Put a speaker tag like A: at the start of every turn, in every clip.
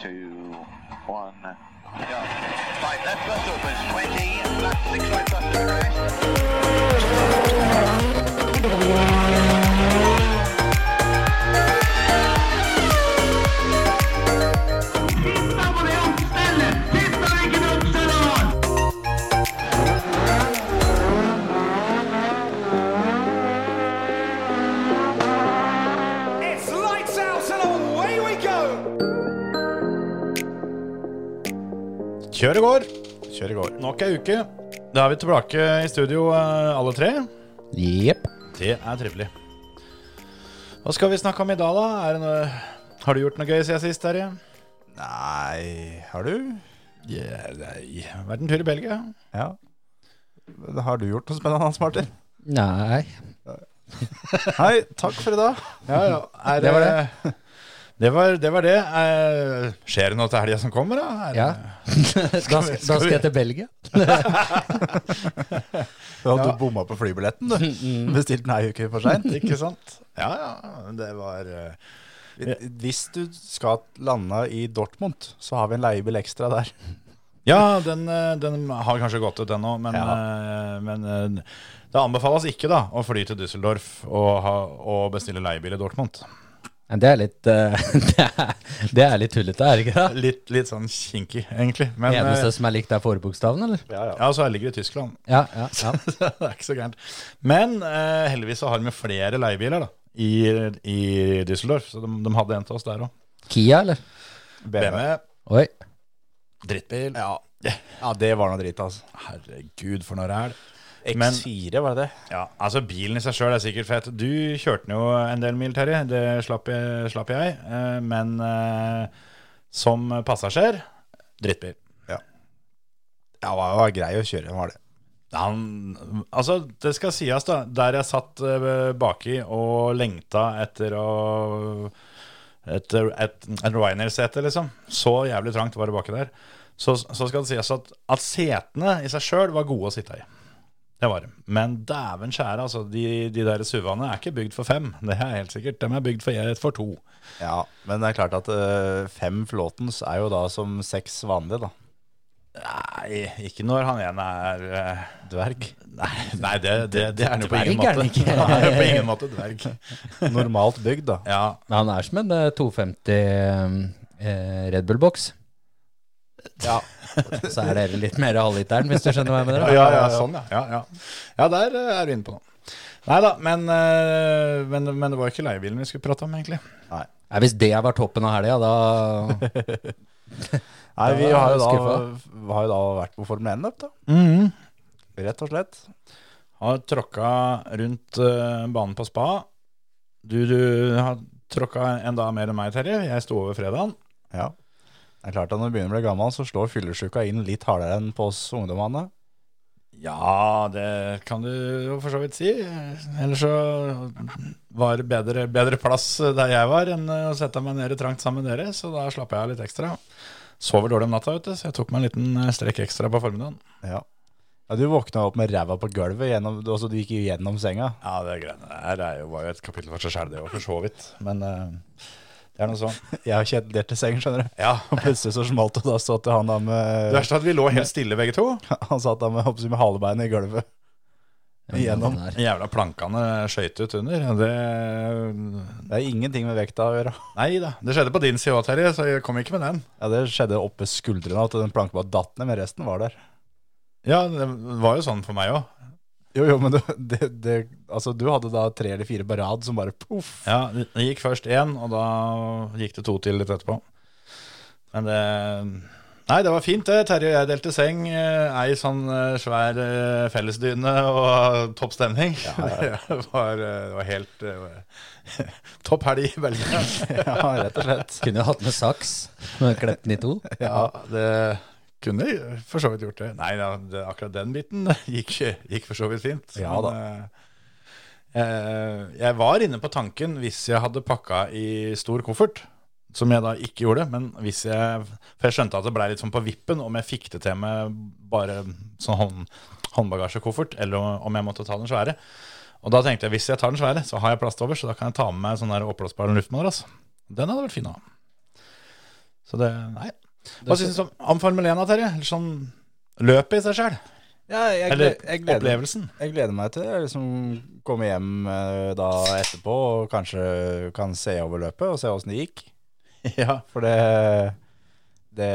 A: two, one.
B: Right, left bus opens, 20, left six right bus direct.
C: It's lights out and away we go!
D: Kjør i går. Kjør i går. Nok ei uke. Da er vi tilbake i studio, eh, alle tre.
E: Jepp.
D: Det er trivelig. Hva skal vi snakke om i dag, da? Er det noe... Har du gjort noe gøy siden sist, Terje?
E: Nei, har du?
D: Yeah, nei. Vært en tur i Belgia.
E: Ja. Men Har du gjort noe spennende, Hans Martin?
F: Nei.
E: Nei, takk for i dag.
D: Ja, ja. Er
F: Det var
D: det. Det var det. Var det. Eh, skjer det noe til helga som kommer, da? Er
F: Ja.
D: det-
E: Eh,
F: Da skal,
D: vi- skal
F: da skal
D: vi-
F: jeg til Belgia.
E: Ja, du bomma på flybilletten, du. Bestilte den ei uke for seint.
D: Mm. Ikke sant? Ja, ja. Det var eh,
E: Hvis du skal lande i Dortmund, så har vi en leiebil ekstra der.
D: Ja, den, eh, den har kanskje gått ut ennå, men, eh, men eh, det anbefales ikke da å fly til Düsseldorf og, ha, og bestille leiebil i Dortmund.
F: Men Det er litt eh, Det er, det er litt tullete, er det ikke det?
D: Litt, litt sånn kinky, egentlig. Men eh,
F: Eneste som er likt, er forbokstaven, eller?
D: ja, så ligger det i Tyskland.
F: Ja, ja, ja.
D: det er ikke så gærent. Men eh, heldigvis så har vi flere leiebiler da, i, i Düsseldorf, så de, de hadde en til oss der òg.
F: Kia, eller?
D: BMW,
F: Oi.
D: drittbil.
E: Ja. ja, det var noe dritt, altså.
D: Herregud, for noe ræl. Men-
E: X4, var det det?
D: Ja, altså Bilen i seg sjøl er sikkert fett. Du kjørte den jo en del mil, Terje. Det slapp jeg. Slapp jeg. Eh, Men eh, som passasjer drittbil.
E: Ja, det var, var grei å kjøre, var det.
D: Han, altså, det skal sies, da. Der jeg satt eh, baki og lengta etter å et, et, et Ryanair-sete, liksom. Så jævlig trangt var det baki der. Så, så skal det sies at, at setene i seg sjøl var gode å sitte i. Det var det. Men dæven skjære, altså. De, de der SUV-ene er ikke bygd for fem. Det er helt sikkert. De er bygd for, for to.
E: Ja, Men det er klart at eh, fem Flåtens er jo da som seks vanlige, da.
D: Nei, ikke når han ene er eh, dverg. Nei, nei det, det, det er han jo på
F: Dverg
D: ingen
F: er han
D: måte.
F: ikke.
D: Han er jo på ingen måte dverg.
E: Normalt bygd, da.
D: Ja,
F: Men han er som en eh, 250 eh, Red Bull-boks.
E: Ja.
F: Så er dere litt mer halvliteren, hvis du skjønner hva jeg mener.
D: ja, ja, ja, sånn, ja. Ja, ja. ja der eh, er du inne på noe. Nei da, men, eh, men, men det var ikke leiebilen vi skulle prate om, egentlig.
F: Nei, hvis det var toppen av helga, da
E: Nei, vi
F: Ja,
E: har jo, da,
F: skuffa.
E: har jo da vært på Formel 1-løp, da. Rett og slett.
D: Mhm. Har tråkka rundt eh, banen på spa. Du, du har tråkka en dag mer enn meg, Terje. Jeg sto over fredagen.
E: Ja. Det er klart at Når du begynner å bli gammel, så slår fyllesyka inn litt hardere enn på oss ungdommene.
D: Ja, det kan du jo for så vidt si. Ellers så var det bedre, bedre plass der jeg var, enn å sette meg nede trangt sammen med dere, så da slapp jeg av litt ekstra. Sover dårlig om natta, vet du, så jeg tok meg en liten eh, strekk ekstra på formiddagen.
E: Ja. ja Du våkna opp med ræva på gulvet, gjennom, du- altså du gikk jo gjennom senga.
D: Ja, det greiene der er jo, var jo et kapittel for seg sjæl, det òg, for så vidt. Men eh, det er noe sånn.
E: Jeg har kjent det til sengen, skjønner du.
D: Ja.
E: Og plutselig så smalt det, og da satt han da
D: Det
E: med
D: verste er at vi lå helt stille begge to.
E: Han satt da med, hoppsi, med halebeinet i gulvet. Igjennom.
F: Der.
D: De jævla plankene skøyt ut under. og Det
E: Det er ingenting med vekta å gjøre.
D: Nei da. Det skjedde på din side òg, Terje, så jeg kom ikke med den.
E: Ja, Det skjedde oppe skuldrene, at den planken bare datt ned, men resten var der.
D: Ja, det var jo sånn for meg òg.
E: Jo, jo, men det, det, det, altså, du hadde da tre eller fire på rad som bare poff.
D: Ja, det gikk først én, og da gikk det to til litt etterpå. Men det Nei, det var fint, det. Terje og jeg delte seng. eh, Ei sånn eh, svær eh, fellesdyne og topp stemning. det, var, eh, det var helt eh, Topp helg i Belgia.
E: Ja, rett og slett.
F: Kunne jo hatt med saks. men Klept den i to.
D: ja, det kunne jeg for så vidt gjort det. Nei, da, det, akkurat den biten gikk, gikk for så vidt fint.
E: Ja da.
D: Men, eh, eh, jeg var inne på tanken hvis jeg hadde pakka i stor koffert, som jeg da ikke gjorde, men hvis jeg For jeg skjønte at det blei litt sånn på vippen om jeg fikk det til med bare sånn hånd, håndbagasjekoffert, eller om jeg måtte ta den svære. Og da tenkte jeg hvis jeg tar den svære, så har jeg plast over, så da kan jeg ta med meg sånn der oppblåsbar luftmadrass. Den hadde vært fin å ha. Så Så det Nei. Hva syns du om- om Formel 1, da, Terje? Eller sånn løpet i seg sjøl?
E: Ja, jeg, gle-
D: Eller
E: jeg, gleder,
D: opplevelsen?
E: jeg gleder meg til å liksom komme hjem eh, da etterpå og kanskje kan se over løpet og se åssen det gikk.
D: Ja.
E: For det, det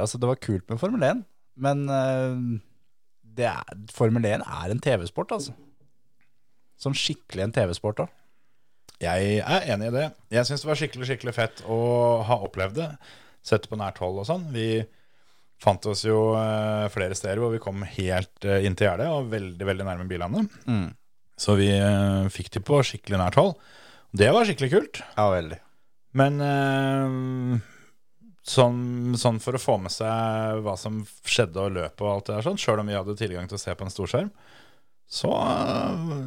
E: Altså, det var kult med Formel 1, men eh, det er, Formel 1 er en TV-sport, altså. Som skikkelig en TV-sport òg.
D: Jeg er enig i det. Jeg syns det var skikkelig skikkelig fett å ha opplevd det. Sett det på nært hold og sånn. Vi fant oss jo eh, flere steder hvor vi kom helt eh, inn til gjerdet og veldig veldig nærme bilene.
E: Mm.
D: Så vi eh, fikk de på skikkelig nært hold. Det var skikkelig kult.
E: Ja, veldig.
D: Men eh, sånn, sånn for å få med seg hva som skjedde og løpet og alt det der sånn, sjøl om vi hadde tilgang til å se på en storskjerm, så eh,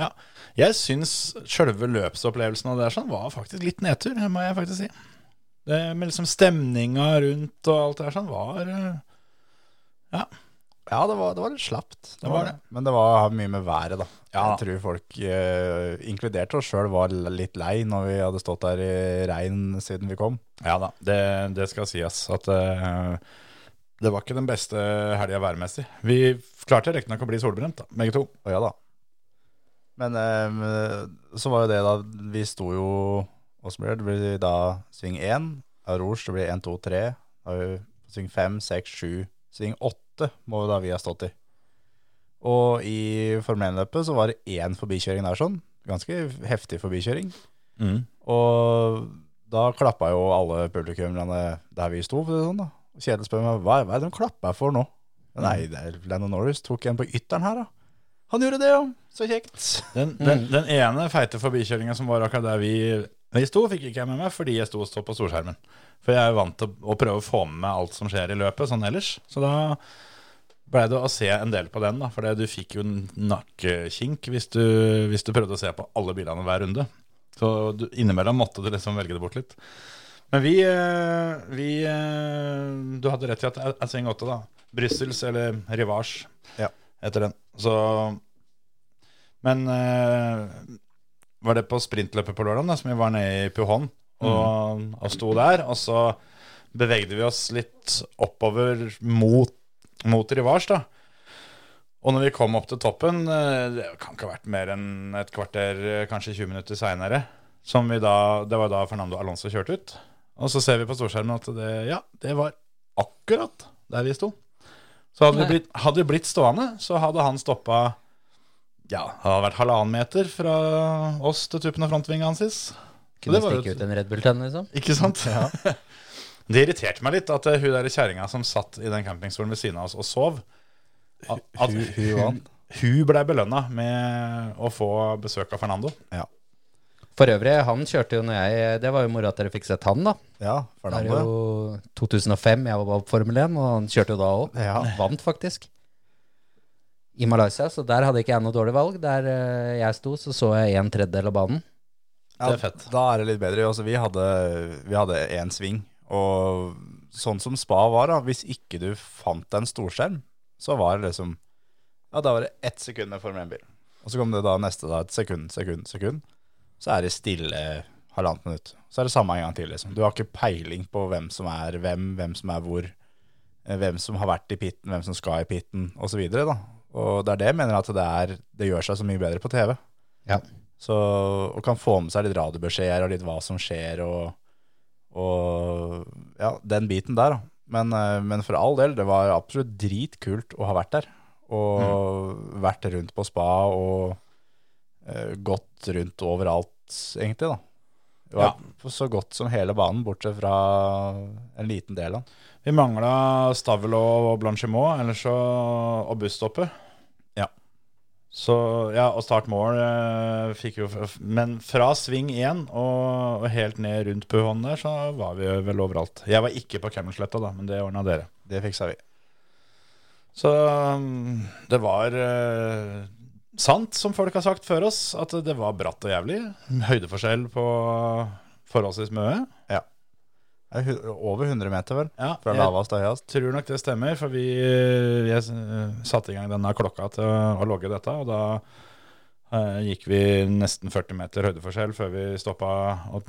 D: Ja. Jeg syns sjølve løpsopplevelsen av det der sånn var faktisk litt nedtur, det må jeg faktisk si. Det med liksom stemninga rundt og alt det der sånn var eh,
E: Ja, det var, det var litt slapt.
D: Det var det.
E: Men det var mye med været, da.
D: Ja.
E: Jeg tror folk, eh, inkludert oss sjøl, var l- litt lei når vi hadde stått der i regn siden vi kom.
D: Ja da, det, det skal sies at eh, det var ikke den beste helga værmessig. Vi klarte riktignok å bli solbrent, da, begge to.
E: Å ja da. Men eh, så var jo det da Vi sto jo Åssen blir det? Det blir da sving 1 av Rouge. Det blir 1, 2, 3. Da er vi på sving 5, 6, 7. Sving 8 må jo da vi ha stått i. Og i Formel 1-løpet så var det én forbikjøring der sånn. Ganske heftig forbikjøring.
D: Mm.
E: Og da klappa jo alle publikummerne der vi sto. for å si det Sånn, da. Kjetil spør meg hva, hva er det de klapper for nå? Nei,
D: Mm.
E: det er Lennon Norris tok en på ytteren her, da. Han gjorde det, jo. Så kjekt. Mm.
D: Den, den, den ene feite forbikjøringa som var akkurat der vi, vi sto, fikk ikke jeg med meg fordi jeg sto og så på storskjermen. For jeg er jo vant til å, å prøve å få med meg alt som skjer i løpet sånn ellers. Så da blei det å se en del på den, da. For det- du fikk jo nakkekink hvis du, hvis du prøvde å se på alle bilene hver runde. Så du, innimellom måtte du liksom velge det bort litt. Men vi, eh, vi eh, Du hadde rett i at det er- er sving åtte, da. Brussels, eller Rivage,
E: Ja.
D: etter den. Så men eh, var det på sprintløpet på lørdag, som vi var nede i Puhon og, og sto der. Og så bevegde vi oss litt oppover mot, mot Rivars, da. Og når vi kom opp til toppen, eh, det kan ikke ha vært mer enn et kvarter, eh, kanskje 20 minutter seinere, som vi da Det var da Fernando Alonso kjørte ut. Og så ser vi på storskjermen at det, ja, det var akkurat der vi sto. Så hadde vi
F: Nei.
D: blitt, hadde vi blitt stående, så hadde han stoppa ja, det har vært halvannen meter fra oss til tuppen av frontvinga hans. sist. Så
F: Kunne
D: det var jo-
F: stikke ut en Red Bull-tenn, liksom.
D: Ikke sant? Det irriterte meg litt at eh, hun der kjerringa som satt i den campingstolen ved siden av oss og sov, at, at
E: Hu-
D: hun,
E: hun vant.
D: hun blei belønna med å få besøk av Fernando.
E: Ja.
F: For øvrig, han kjørte jo når jeg Det var jo moro at dere fikk sett han, da.
E: ja
F: Det er
E: Fernando.
F: jo 2005, jeg var bare på Formel 1, og han kjørte jo da òg.
E: Ja.
F: Vant, faktisk. I Malaysia, så der hadde ikke jeg noe dårlig valg. Der eh, jeg sto, så så jeg en tredjedel av banen.
E: Ja,
D: Det er fett.
E: Da er det litt bedre. Altså, vi hadde vi hadde én sving, og sånn som spa var, da, hvis ikke du fant en storskjerm, så var det liksom Ja, da var det ett sekund med Formel 1-bil. Og så kom det da neste, da, et sekund, sekund, sekund. Så er det stille halvannet minutt. Så er det samme en gang til, liksom. Du har ikke peiling på hvem som er hvem, hvem som er hvor, eh, hvem som har vært i pitten, hvem som skal i pitten, osv. da. Og det er det jeg mener at det er Det gjør seg så mye bedre på TV.
F: Ja.
E: Så, og kan få med seg litt radiobeskjeder og litt hva som skjer og, og ja, den biten der. da. Men, eh, men for all del, det var absolutt dritkult å ha vært der. Og
D: Mm.
E: vært rundt på spa og eh, gått rundt overalt, egentlig. da. Det var så godt som hele banen, bortsett fra en liten del av den.
D: Vi mangla Stavel og Blanchimot ellers så, og busstoppet.
E: Ja.
D: Så, ja, og Start Mål eh, fikk jo f- Men fra sving 1 og, og helt ned rundt Puhon der, så var vi vel overalt. Jeg var ikke på Camelsletta, da, men det ordna dere.
E: Det fiksa vi.
D: Så mm, det var eh, sant, som folk har sagt før oss, at det var bratt og jævlig. Høydeforskjell på forholdsvis mye.
E: Det er hu- Over 100 meter, vel?
D: Ja,
E: Fra
D: jeg-
E: lavest til høyest.
D: tror nok det stemmer, for vi, eh, vi satte i gang denne klokka til å logge dette, og da eh, gikk vi nesten 40 meter høydeforskjell før vi stoppa og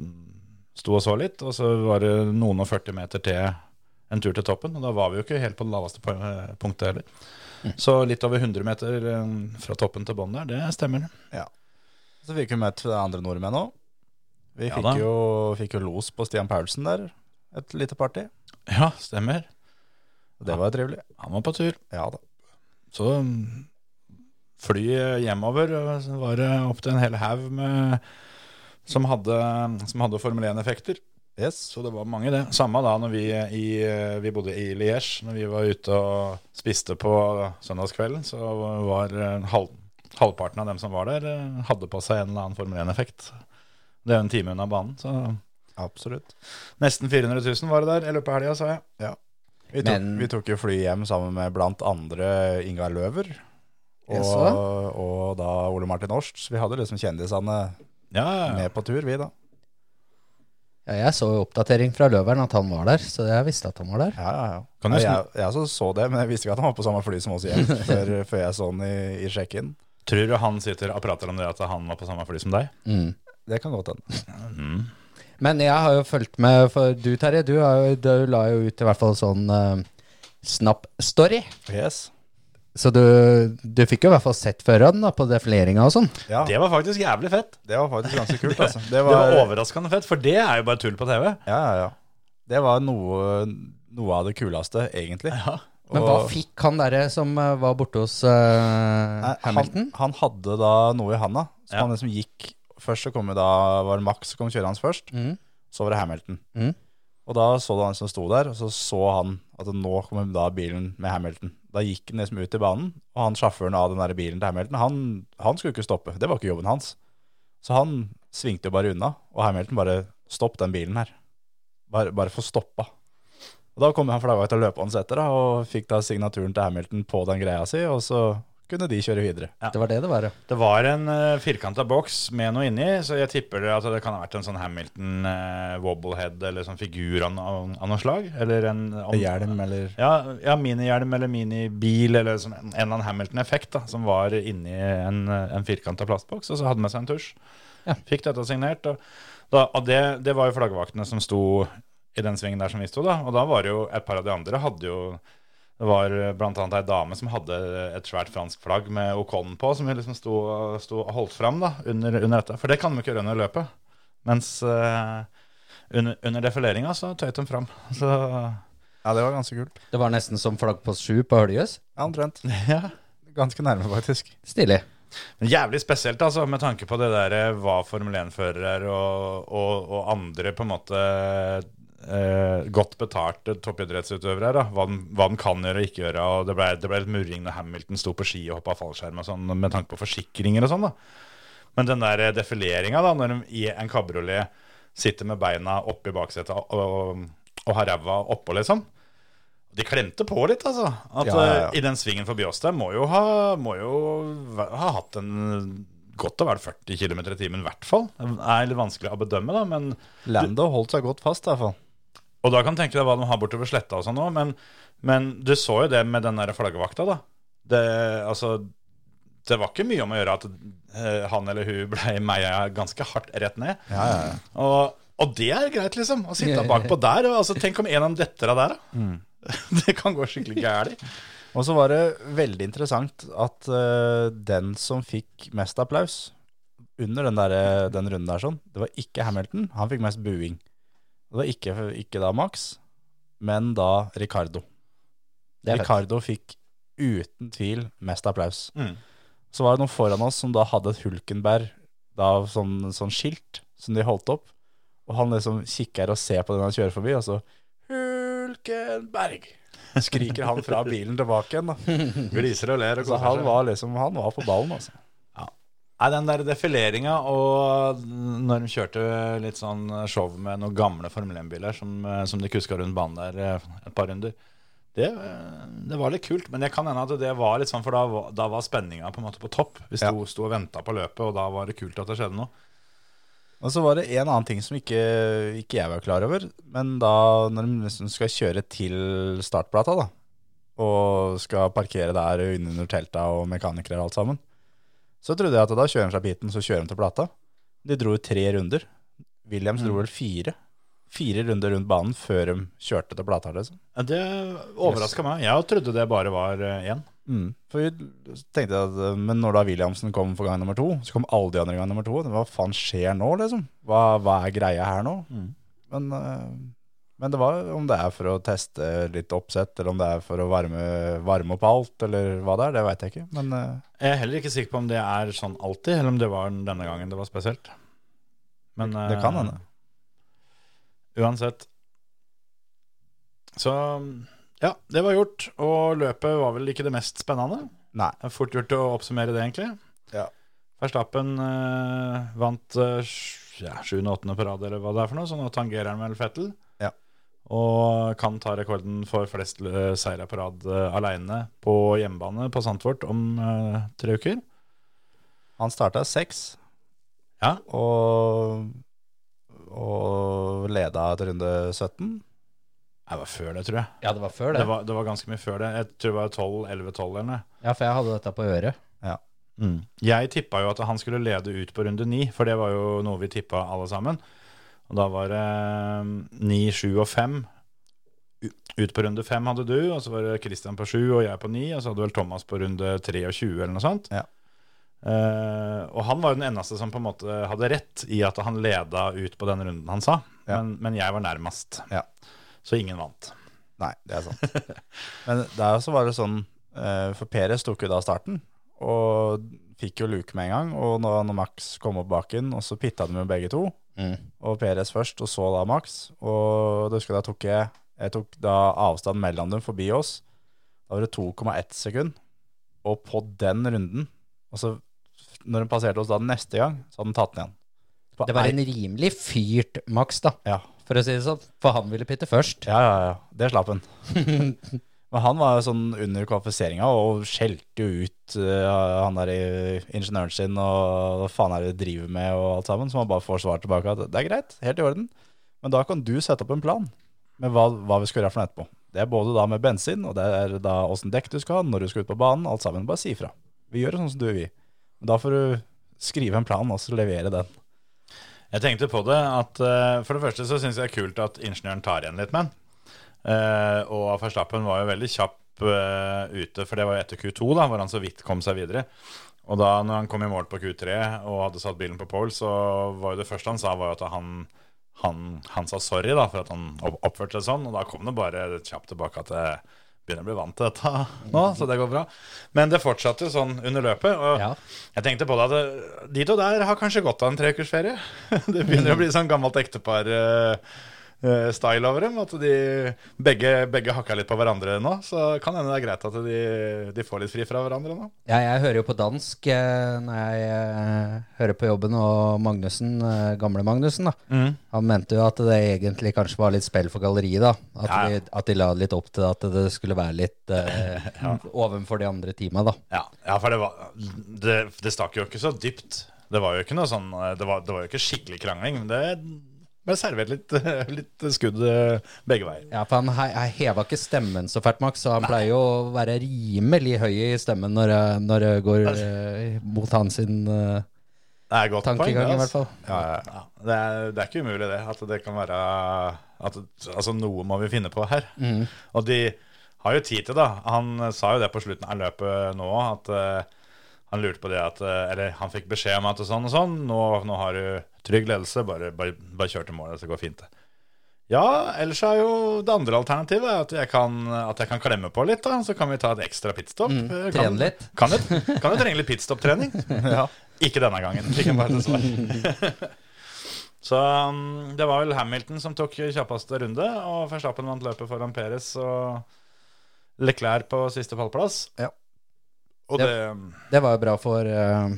D: Sto og så litt, og så var det noen og 40 meter til en tur til toppen. Og da var vi jo ikke helt på det laveste po- eh, punktet heller. Så litt over 100 meter eh, fra toppen til bånn der, det stemmer.
E: Så fikk vi møtt andre nordmenn òg. Vi
D: Ja da.
E: fikk, jo, fikk jo los på Stian Paulsen der, et lite party.
D: Ja, stemmer.
E: Og det var jo trivelig.
D: Han var på tur.
E: Ja da.
D: Så mm, flyet hjemover og så var det opp til en hel haug med som hadde, som hadde Formel 1-effekter.
E: Yes.
D: Så det var mange, det. Samme da når vi, i, vi bodde i Liège. Når vi var ute og spiste på søndagskvelden, så var eh, halv, halvparten av dem som var der, eh, hadde på seg en eller annen Formel 1-effekt. Det er jo en time unna banen, så
E: Absolutt.
D: nesten 400 000 var det der i løpet av helga, sa jeg.
E: Vi tok,
F: Men-
E: vi tok jo fly hjem sammen med blant andre Ingar Løver. Og,
F: Jaså?
E: og da Ole Martin Årst. Så vi hadde liksom kjendisene
D: Ja, ja, ja.
E: med på tur, vi da.
F: Ja, jeg så jo oppdatering fra Løveren at han var der, så jeg visste at han var der.
E: Ja, ja, ja.
D: Kan du
E: Nei, jeg, jeg så, så det, men jeg visste ikke at han var på samme fly som oss hjem før, før jeg så han i, i check-in.
D: Tror du han sitter og prater om det at han var på samme fly som deg?
F: Mm.
E: Det kan godt hende.
F: Men jeg har jo fulgt med, for du Terje, du, har jo, du la jo ut i hvert fall sånn eh, Snap-story.
E: Yes.
F: Så du, du fikk jo i hvert fall sett føreren da, på defileringa og sånn.
E: Ja, det,
D: Det var faktisk jævlig fett.
E: var faktisk ganske kult, altså. Det
D: Det
E: var,
D: var overraskende fett, for det er jo bare tull på TV.
E: Ja, ja, ja. Det var noe, noe av det kuleste, egentlig.
F: Men hva fikk han derre som eh, var borte hos eh,
E: Nei,
F: Hamilton?
E: Han, han hadde da noe i handa. Så
D: Ja.
E: han liksom gikk Først så kom jo da var det Max som kom kjørende hans først.
F: Mhm.
E: Så var det Hamilton.
F: Mhm.
E: Og da så du han som sto der, og så så han at nå kommer da bilen med Hamilton. Da gikk han liksom ut i banen, og han sjåføren av den der bilen til Hamilton, han, han skulle ikke stoppe. Det var ikke jobben hans. Så han svingte jo bare unna, og Hamilton bare Stopp den bilen her. Bare, bare få stoppa. Og da kom han flagga ut av løpet hans etter, da, og fikk da signaturen til Hamilton på den greia si, og så kunne de kjøre videre.
F: Det var det det var, ja.
D: Det var en uh, firkanta boks med noe inni, så jeg tipper det at det kan ha vært en sånn Hamilton eh, wobblehead eller sånn figur av, av, av noe slag. Eller en om-
E: Hjelm eller
D: Ja, ja minihjelm eller minibil eller sånn, en eller annen Hamilton-effekt da, som var inni en, eh, en firkanta plastboks, og så hadde med seg en tusj.
F: Ja.
D: Fikk dette signert. Og, da, og det, det var jo flaggvaktene som sto i den svingen der som vi sto, da. Og da var det jo et par av de andre hadde jo Det var blant annet ei dame som hadde et svært fransk flagg med Ocon på, som liksom sto, sto og holdt fram da, under, under dette. For det kan de ikke gjøre under løpet. Mens eh, under, under defileringa så tøyt de fram. Så
E: Ja, det var ganske kult.
F: Det var nesten som flaggpost 7 på Høljøs.
E: Ja, omtrent.
D: ja.
E: Ganske nærme, faktisk.
F: Stilig.
D: Men jævlig spesielt, altså, med tanke på det der eh, hva Formel 1-førere og, og, og andre på en måte eh, godt betalte toppidrettsutøvere er, da. Hva den, hva den kan gjøre og ikke gjøre. Og det ble, det ble litt murring da Hamilton sto på ski og hoppa fallskjerm og sånn, med tanke på forsikringer og sånn, da. Men den der eh, defileringa, da, når de i en kabriolet sitter med beina oppi baksetet og, og, og har ræva oppå, liksom. De klemte på litt, altså. At
E: Ja, ja, ja.
D: eh, I den svingen forbi oss der må jo ha, må jo væ- ha hatt en godt og vel 40 km i timen, i hvert fall. Det er litt vanskelig å bedømme, da, men
E: Lando holdt seg godt fast, i hvert fall.
D: Og da kan du tenke deg hva de har bortover sletta og sånn òg, men, men du så jo det med den der flaggvakta, da. Det, altså, det var ikke mye om å gjøre at eh, han eller hun blei meia ganske hardt rett ned.
E: Ja, ja, ja.
D: Og, og det er greit, liksom. Å sitte bakpå der. Og, altså, tenk om en av dem detter av der, da.
E: Mm.
D: Det kan gå skikkelig gærent.
E: Og så var det veldig interessant at eh, den som fikk mest applaus under den, der, den runden der sånn, det var ikke Hamilton, han fikk mest buing. Det var ikke, ikke da Max, men da Ricardo.
F: Det er fett.
E: Ricardo fikk uten tvil mest applaus.
D: Mm.
E: Så var det noen foran oss som da hadde et Hulkenberg da, sånn, sånn skilt som de holdt opp. Og han liksom kikker og ser på den han kjører forbi, og så Hulkenberg! Skriker han fra bilen tilbake igjen, da.
D: Gliser og ler og
E: Så
D: koser
E: han
D: seg.
E: var liksom Han var på ballen, altså.
D: Nei, den der defileringa og når de kjørte litt sånn show med noen gamle Formel 1-biler som, som de kuska rundt banen der eh, et par runder, det, eh, det var litt kult. Men det kan hende at det var litt sånn, for da, var- da var spenninga på en måte på topp. Vi sto, sto og venta på løpet, og da var det kult at det skjedde noe.
E: Og så var det en annen ting som ikke, ikke jeg var klar over. Men da når de liksom skal kjøre til startplata, da, og skal parkere der under telta og mekanikere og alt sammen, så trodde jeg at da kjører de fra piten, så kjører de til plata. De dro tre runder. Williams
D: Mm.
E: dro vel fire. Fire runder rundt banen før de kjørte til plata. Liksom.
D: Ja, Det overraska meg. Jeg trodde det bare var eh, én.
E: Mm. For vi tenkte at, eh, Men når da Williamsen kom for gang nummer to, så kom alle de andre gang nummer to. Hva faen skjer nå, liksom? Hva, hva er greia her nå?
D: Mm.
E: Men, eh, men det var om det er for å teste litt oppsett, eller om det er for å varme, varme opp alt, eller hva det er, det veit jeg ikke. Men eh,
D: Jeg er heller ikke sikker på om det er sånn alltid, eller om det var denne gangen det var spesielt. Men
E: det kan
D: eh,
E: hende.
D: Uansett. Så ja, det var gjort. Og løpet var vel ikke det mest spennende.
E: Nei.
D: Det er fort gjort å oppsummere det, egentlig.
E: Ja.
D: Verstappen eh, vant eh, sj- ja, sjuende, åttende på rad, eller hva det er for noe, så nå tangerer han vel Fettel.
E: Ja.
D: Og kan ta rekorden for flest eh, seire på rad eh, aleine på hjemmebane på Sandfort om eh, tre uker.
E: Han starta seks.
D: Ja.
E: Og, og leda til runde 17.
D: Det var før det, tror jeg.
F: Ja, det var før
D: Det var, det var ganske mye før det. Jeg tror det var 12-11-12 eller noe.
F: Ja, for jeg hadde dette på øret.
E: Mm.
D: Jeg tippa jo at han skulle lede ut på runde ni, for det var jo noe vi tippa alle sammen. Og da var det ehm, ni, sju og fem. U- Ut på runde fem hadde du, og så var det Christian på sju og jeg på ni, og så hadde vel Thomas på runde 23 eller noe sånt.
E: Ja.
D: Eh, og han var jo den eneste som på en måte hadde rett i at han leda ut på den runden han sa,
E: Ja.
D: men, men jeg var nærmest.
E: Ja.
D: Så ingen vant.
E: Nei, det er sant. Men der også var det sånn eh, For Peres tok jo da starten, og fikk jo luke med en gang. Og når, når Max kom opp baken, og så pitta de jo begge to. Og Peres først, og så da Max. Og da husker jeg da tok jeg Jeg tok da avstand mellom dem forbi oss. Da var det 2,1 sekund. Og på den runden Og så når de passerte oss da neste gang, så hadde de tatt den igjen. På
F: Det var
E: ei-
F: en rimelig fyrt Max, da,
E: ja.
F: for å si det sånn. For han ville pitte først.
E: Ja, ja, ja. Det slapp han. Men han var jo sånn under kvalifiseringa og skjelte jo ut eh, han der i- ingeniøren sin og hva faen er det de driver med og alt sammen, som han bare får svar tilbake at det er greit, helt i orden. Men da kan du sette opp en plan med hva, hva vi skal gjøre for noe etterpå. Det er både da med bensin, og det er da åssen dekk du skal ha, når du skal ut på banen, alt sammen. Bare si ifra. Vi gjør det sånn som du vil. Men da får du skrive en plan og så levere den.
D: Jeg tenkte på det at eh, For det første så syns jeg det er kult at ingeniøren tar igjen litt med den. Eh, og Verstappen var jo veldig kjapp eh, ute, for det var jo etter Q2, da, hvor han så vidt kom seg videre. Og da når han kom i mål på Q3 og hadde satt bilen på pole, så var jo det første han sa, var jo at han, han, han sa sorry da, for at han opp- oppførte seg sånn. Og da kom det bare kjapt tilbake at jeg begynner å bli vant til dette nå, så det går bra. Men det fortsatte jo sånn under løpet. Og
F: Ja.
D: jeg tenkte på det at eh, de to der har kanskje godt av en treukersferie. Det begynner å bli sånn gammelt ektepar. eh, eh, style over dem. At de begge, begge hakka litt på hverandre nå. Så kan hende det er greit at de, de får litt fri fra hverandre nå.
F: Ja, jeg hører jo på dansk eh, når jeg eh, hører på jobben, og Magnussen, eh, gamle Magnussen, da.
D: Mm.
F: Han mente jo at det egentlig kanskje var litt spill for galleriet, da. At,
D: Ja.
F: de, at de la litt opp til at det skulle være litt eh, ovenfor de andre teama, da.
D: Ja, for det, var, det, det stakk jo ikke så dypt. Det var jo ikke noe sånn eh, Det var, det var jo ikke skikkelig krangling, men det ble servert litt, litt skudd eh, begge veier.
F: Ja, for han he- heva ikke stemmen så fælt, Max, så han pleier jo å være rimelig høy i stemmen når, jeg- når det går eh, mot hans sin eh,
D: Det er et godt poeng.
F: tankegang,
D: det,
F: i hvert
D: altså.
F: fall.
D: Ja, det, er, det er ikke umulig, det. At det kan være at, Altså, noe må vi finne på her.
F: Mm.
D: Og de har jo tid til det. Han eh, sa jo det på slutten av løpet nå, at eh, han lurte på det at eh, Eller han fikk beskjed om at sånn og sånn. Nå, nå har du trygg ledelse, bare, bare, bare kjør til målet, så går fint, det. Ja, ellers er jo det andre alternativet er at jeg kan, at jeg kan klemme på litt, da. Så kan vi ta et ekstra pitstop. Eh, kan-
F: trene Mm. litt.
D: Kan jo kan jo trenge litt pitstop-trening. Ikke denne gangen, fikk jeg bare til svar. Så um, det var vel Hamilton som tok kjappeste runde, og Verstappen vant løpet foran Perez og Leclerc på siste pallplass.
E: Ja.
D: Og
F: Det-
D: det, um,
F: Det var jo bra for eh,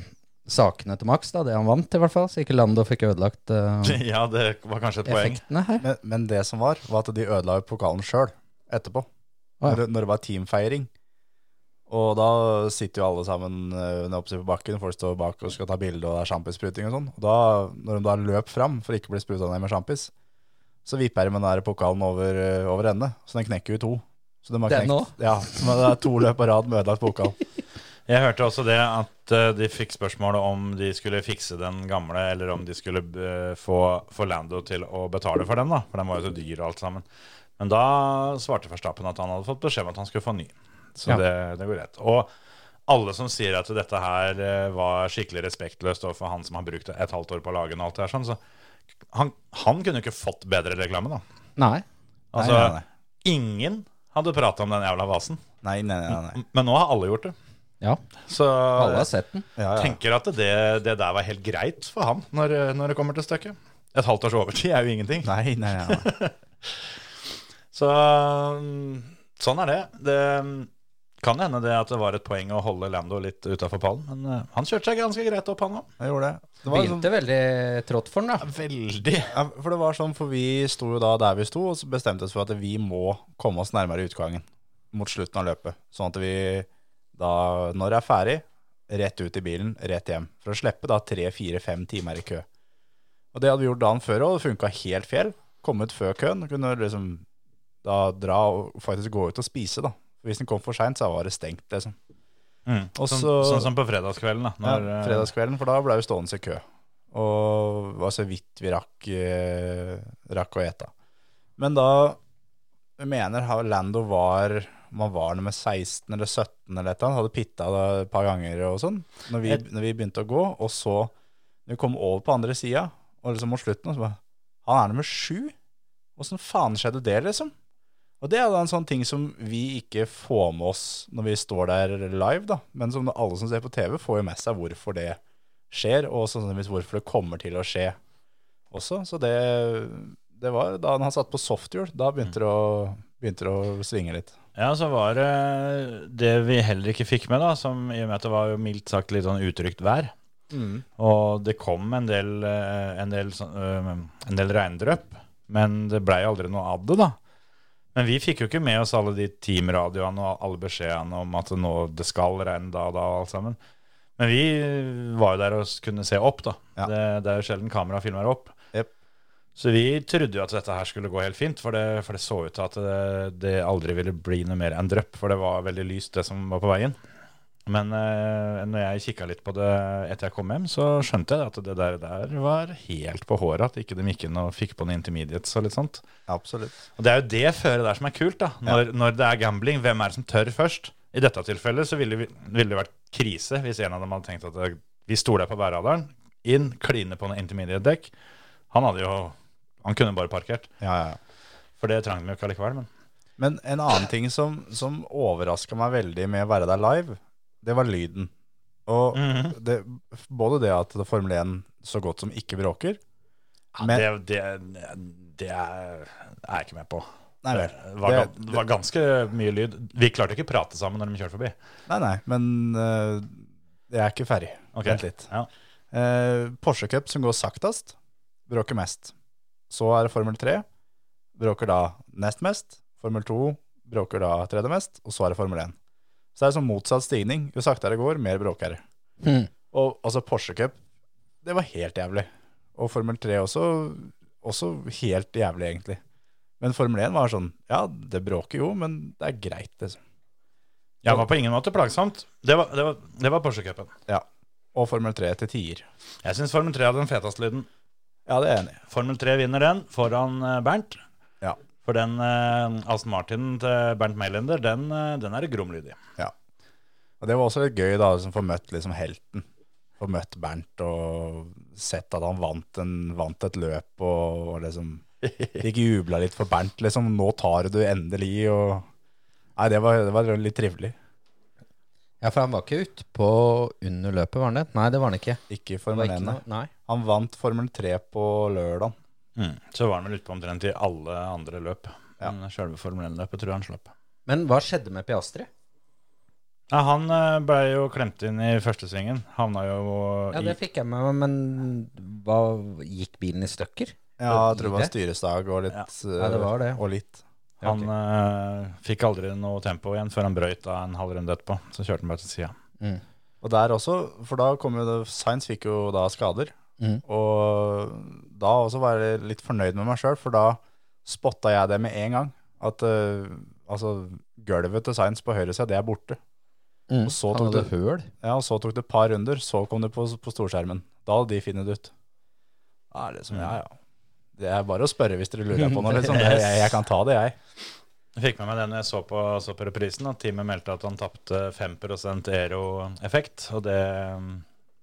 F: sakene til Max, da, det han vant, i hvert fall. Så ikke Lando fikk ødelagt eh,
D: Ja, det var kanskje et poeng.
F: effektene her.
E: Men, men det som var, var at de ødela jo pokalen sjøl etterpå.
F: Å, ja.
E: når, når det var teamfeiring. Og da sitter jo alle sammen eh, nede oppe på bakken, folk står bak og skal ta bilde, og det er sjampisspruting og sånn. Og da, når de da løp fram for ikke å bli spruta ned med sjampis, så vipper de med den der pokalen over, eh, over ende, så den knekker jo i to. Så de har
F: Den
E: knekt-
F: også?
E: Ja, så det er to løp på rad med ødelagt pokal.
D: Jeg hørte også det at eh, de fikk spørsmålet om de skulle fikse den gamle, eller om de skulle eh, få, få Lando til å betale for den, da. For den var jo så dyr og alt sammen. Men da svarte Verstappen at han hadde fått beskjed om at han skulle få ny. Så
F: Ja.
D: det, det går greit. Og alle som sier at dette her eh, var skikkelig respektløst overfor han som har brukt et halvt år på å lage den, og alt det her sånn, så han, han kunne jo ikke fått bedre reklame, da.
F: Nei.
D: Altså,
E: nei, nei.
D: ingen hadde prata om den jævla vasen.
E: Nei, nei, nei. nei.
D: Men nå har alle gjort det.
F: Ja,
D: Så
F: alle har sett den.
E: Ja, ja.
D: tenker at det, det der var helt greit for han når, når det kommer til stykket. Et halvt års overtid er jo ingenting.
E: Nei, nei, nei, nei.
D: Så mm, sånn er det. Det mm, kan hende det at det var et poeng å holde Lando litt utafor pallen, men eh, han kjørte seg ganske greit opp, han òg.
E: Jeg gjorde det. det var sånn,
F: Begynte veldig trått for den, da.
D: Veldig.
E: ja, for det var sånn, for vi sto jo da der vi sto, og så bestemte oss for at vi må komme oss nærmere utgangen mot slutten av løpet. Sånn at vi da, når det er ferdig, rett ut i bilen, rett hjem. For å slippe da tre, fire, fem timer i kø. Og det hadde vi gjort dagen før, og det funka helt fjell. Kommet før køen. Kunne liksom da dra og faktisk gå ut og spise, da. Hvis den kom for seint, så var det stengt, liksom.
D: Mm.
E: Og
D: Sånn,
E: så-
D: sånn som på fredagskvelden, da. Når,
E: ja,
D: eh,
E: fredagskvelden, for da ble vi stående i kø. Og det var så vidt vi rakk, eh, rakk å ete. Men da jeg mener ha- Lando var man var nummer 16 eller 17 eller et eller annet, hadde pitta det et par ganger og sånn, når vi,
D: Et-
E: når vi begynte å gå, og så når vi kom over på andre sida, og liksom mot slutten, og så bare Han er nummer sju? Åssen faen skjedde det, liksom? Og det er da en sånn ting som vi ikke får med oss når vi står der live, da. Men som alle som ser på TV, får jo med seg hvorfor det skjer, og sannsynligvis hvorfor det kommer til å skje også. Så det, det var da han satt på softhjul, da begynte det å, begynte det å svinge litt.
D: Ja, så var det det vi heller ikke fikk med, da, som i og med at det var jo mildt sagt litt sånn utrygt vær. Og det kom en del, eh, en del, sånn, eh, en del regndrøp, men det blei aldri noe av det, da. Men vi fikk jo ikke med oss alle de teamradioene og alle beskjedene om at nå det skal regne da og da og alt sammen. Men vi var jo der og kunne se opp, da.
E: Ja.
D: Det, det er jo sjelden kamera filmer opp.
E: Jep.
D: Så vi trodde jo at dette her skulle gå helt fint, for det, for det så ut til at det, det aldri ville bli noe mer enn drypp, for det var veldig lyst det som var på veien. Men eh, når jeg kikka litt på det etter jeg kom hjem, så skjønte jeg at det der, der var helt på håret, at ikke de gikk inn og fikk på noen intermediates og litt sånt.
E: Absolutt.
D: Og det er jo det føret der som er kult, da. Når, når det er gambling, hvem er det som tør først? I dette tilfellet så ville, vi- ville det vært krise hvis en av dem hadde tenkt at eh, vi stoler på værradaren, inn, kline på en intermediate dekk. Han hadde jo Han kunne bare parkert.
E: Ja, ja, ja.
D: For det trang de jo ikke allikevel, men
E: Men en annen ting som, som overraska meg veldig med å være der live, det var lyden. Og
D: Mhm.
E: det, både det at det Formel 1 så godt som ikke bråker
D: ja,
E: men,
D: det, det, det er er jeg ikke med på.
E: nei, vel,
D: Det var,
E: det-
D: gan- det var ganske mye lyd. Vi klarte ikke å prate sammen når de kjørte forbi.
E: nei, nei, men eh, jeg er ikke ferdig.
D: Ok.
E: Vent litt.
D: Ja.
E: Eh, Porsche Cup som går saktest, bråker mest. Så er det Formel 3, bråker da nest mest. Formel 2 bråker da tredje mest, og så er det Formel 1. Så det er sånn motsatt stigning. Jo saktere det går, mer bråker det.
F: Hmm.
E: Og altså Porsche Cup, det var helt jævlig. Og Formel 3 også, også helt jævlig egentlig. Men Formel 1 var sånn, ja det bråker jo, men det er greit liksom.
D: Ja, det var på ingen måte plagsomt. Det var, det var, det var Porsche-cupen.
E: Ja. Og Formel 3 til tier.
D: Jeg syns Formel 3 hadde den feteste lyden.
E: Ja, det er jeg enig. i.
D: Formel 3 vinner den foran eh, Bernt.
E: Ja.
D: For den eh, Aston Martinen til Bernt Meilander, den, eh, den er gromlyd i.
E: Og det var også litt gøy da, som får møtt liksom helten. Får møtt Bernt og sett at han vant, en, vant et løp og, og liksom Fikk jubla litt for Bernt, liksom. Nå tar du endelig og Nei, det var, det var litt trivelig.
F: Ja, for han var ikke ute på under løpet, var han det? Nei, det var han ikke.
E: Ikke
F: Det var
E: Formel
F: ikke
E: 1.
F: noe, nei.
E: Han vant Formel 3 på lørdag.
D: Mm. Så var han vel ute på omtrent i alle andre løp.
E: Ja.
D: Men Sjølve Formel 1-løpet tror jeg han slapp.
F: Men hva skjedde med Piastri?
D: Ja, han eh, ble jo klemt inn i første svingen. Havna jo
F: Ja,
D: i
F: det fikk jeg med meg, men hva, gikk bilen i stykker?
E: Ja,
F: I
E: jeg tror det var
F: det?
E: styresdag og litt.
F: Ja, det var det.
E: eh, Og litt.
F: Ja,
D: Han eh, fikk aldri noe tempo igjen før han brøyt da en halv runde etterpå. Så kjørte han bare til sida.
F: Mm.
E: Og der også, for da kom jo det, Science fikk jo da skader.
F: Mhm.
E: Og da også var jeg litt fornøyd med meg sjøl, for da spotta jeg det med en gang. At eh, altså, gulvet til Science på høyresida, det er borte.
F: Mm.
E: Og så
F: Han
E: tok
F: hadde
E: det-
F: høl.
E: Ja, og så tok det et par runder, så kom det på, på storskjermen. Da hadde de funnet det ut. Da er det som, ja, ja. Det er bare å spørre hvis dere lurer på noe. Liksom. Det, jeg, jeg kan ta det, jeg.
D: Jeg fikk med meg den jeg så på, så på reprisen, at teamet meldte at han tapte 5 aero-effekt. Og det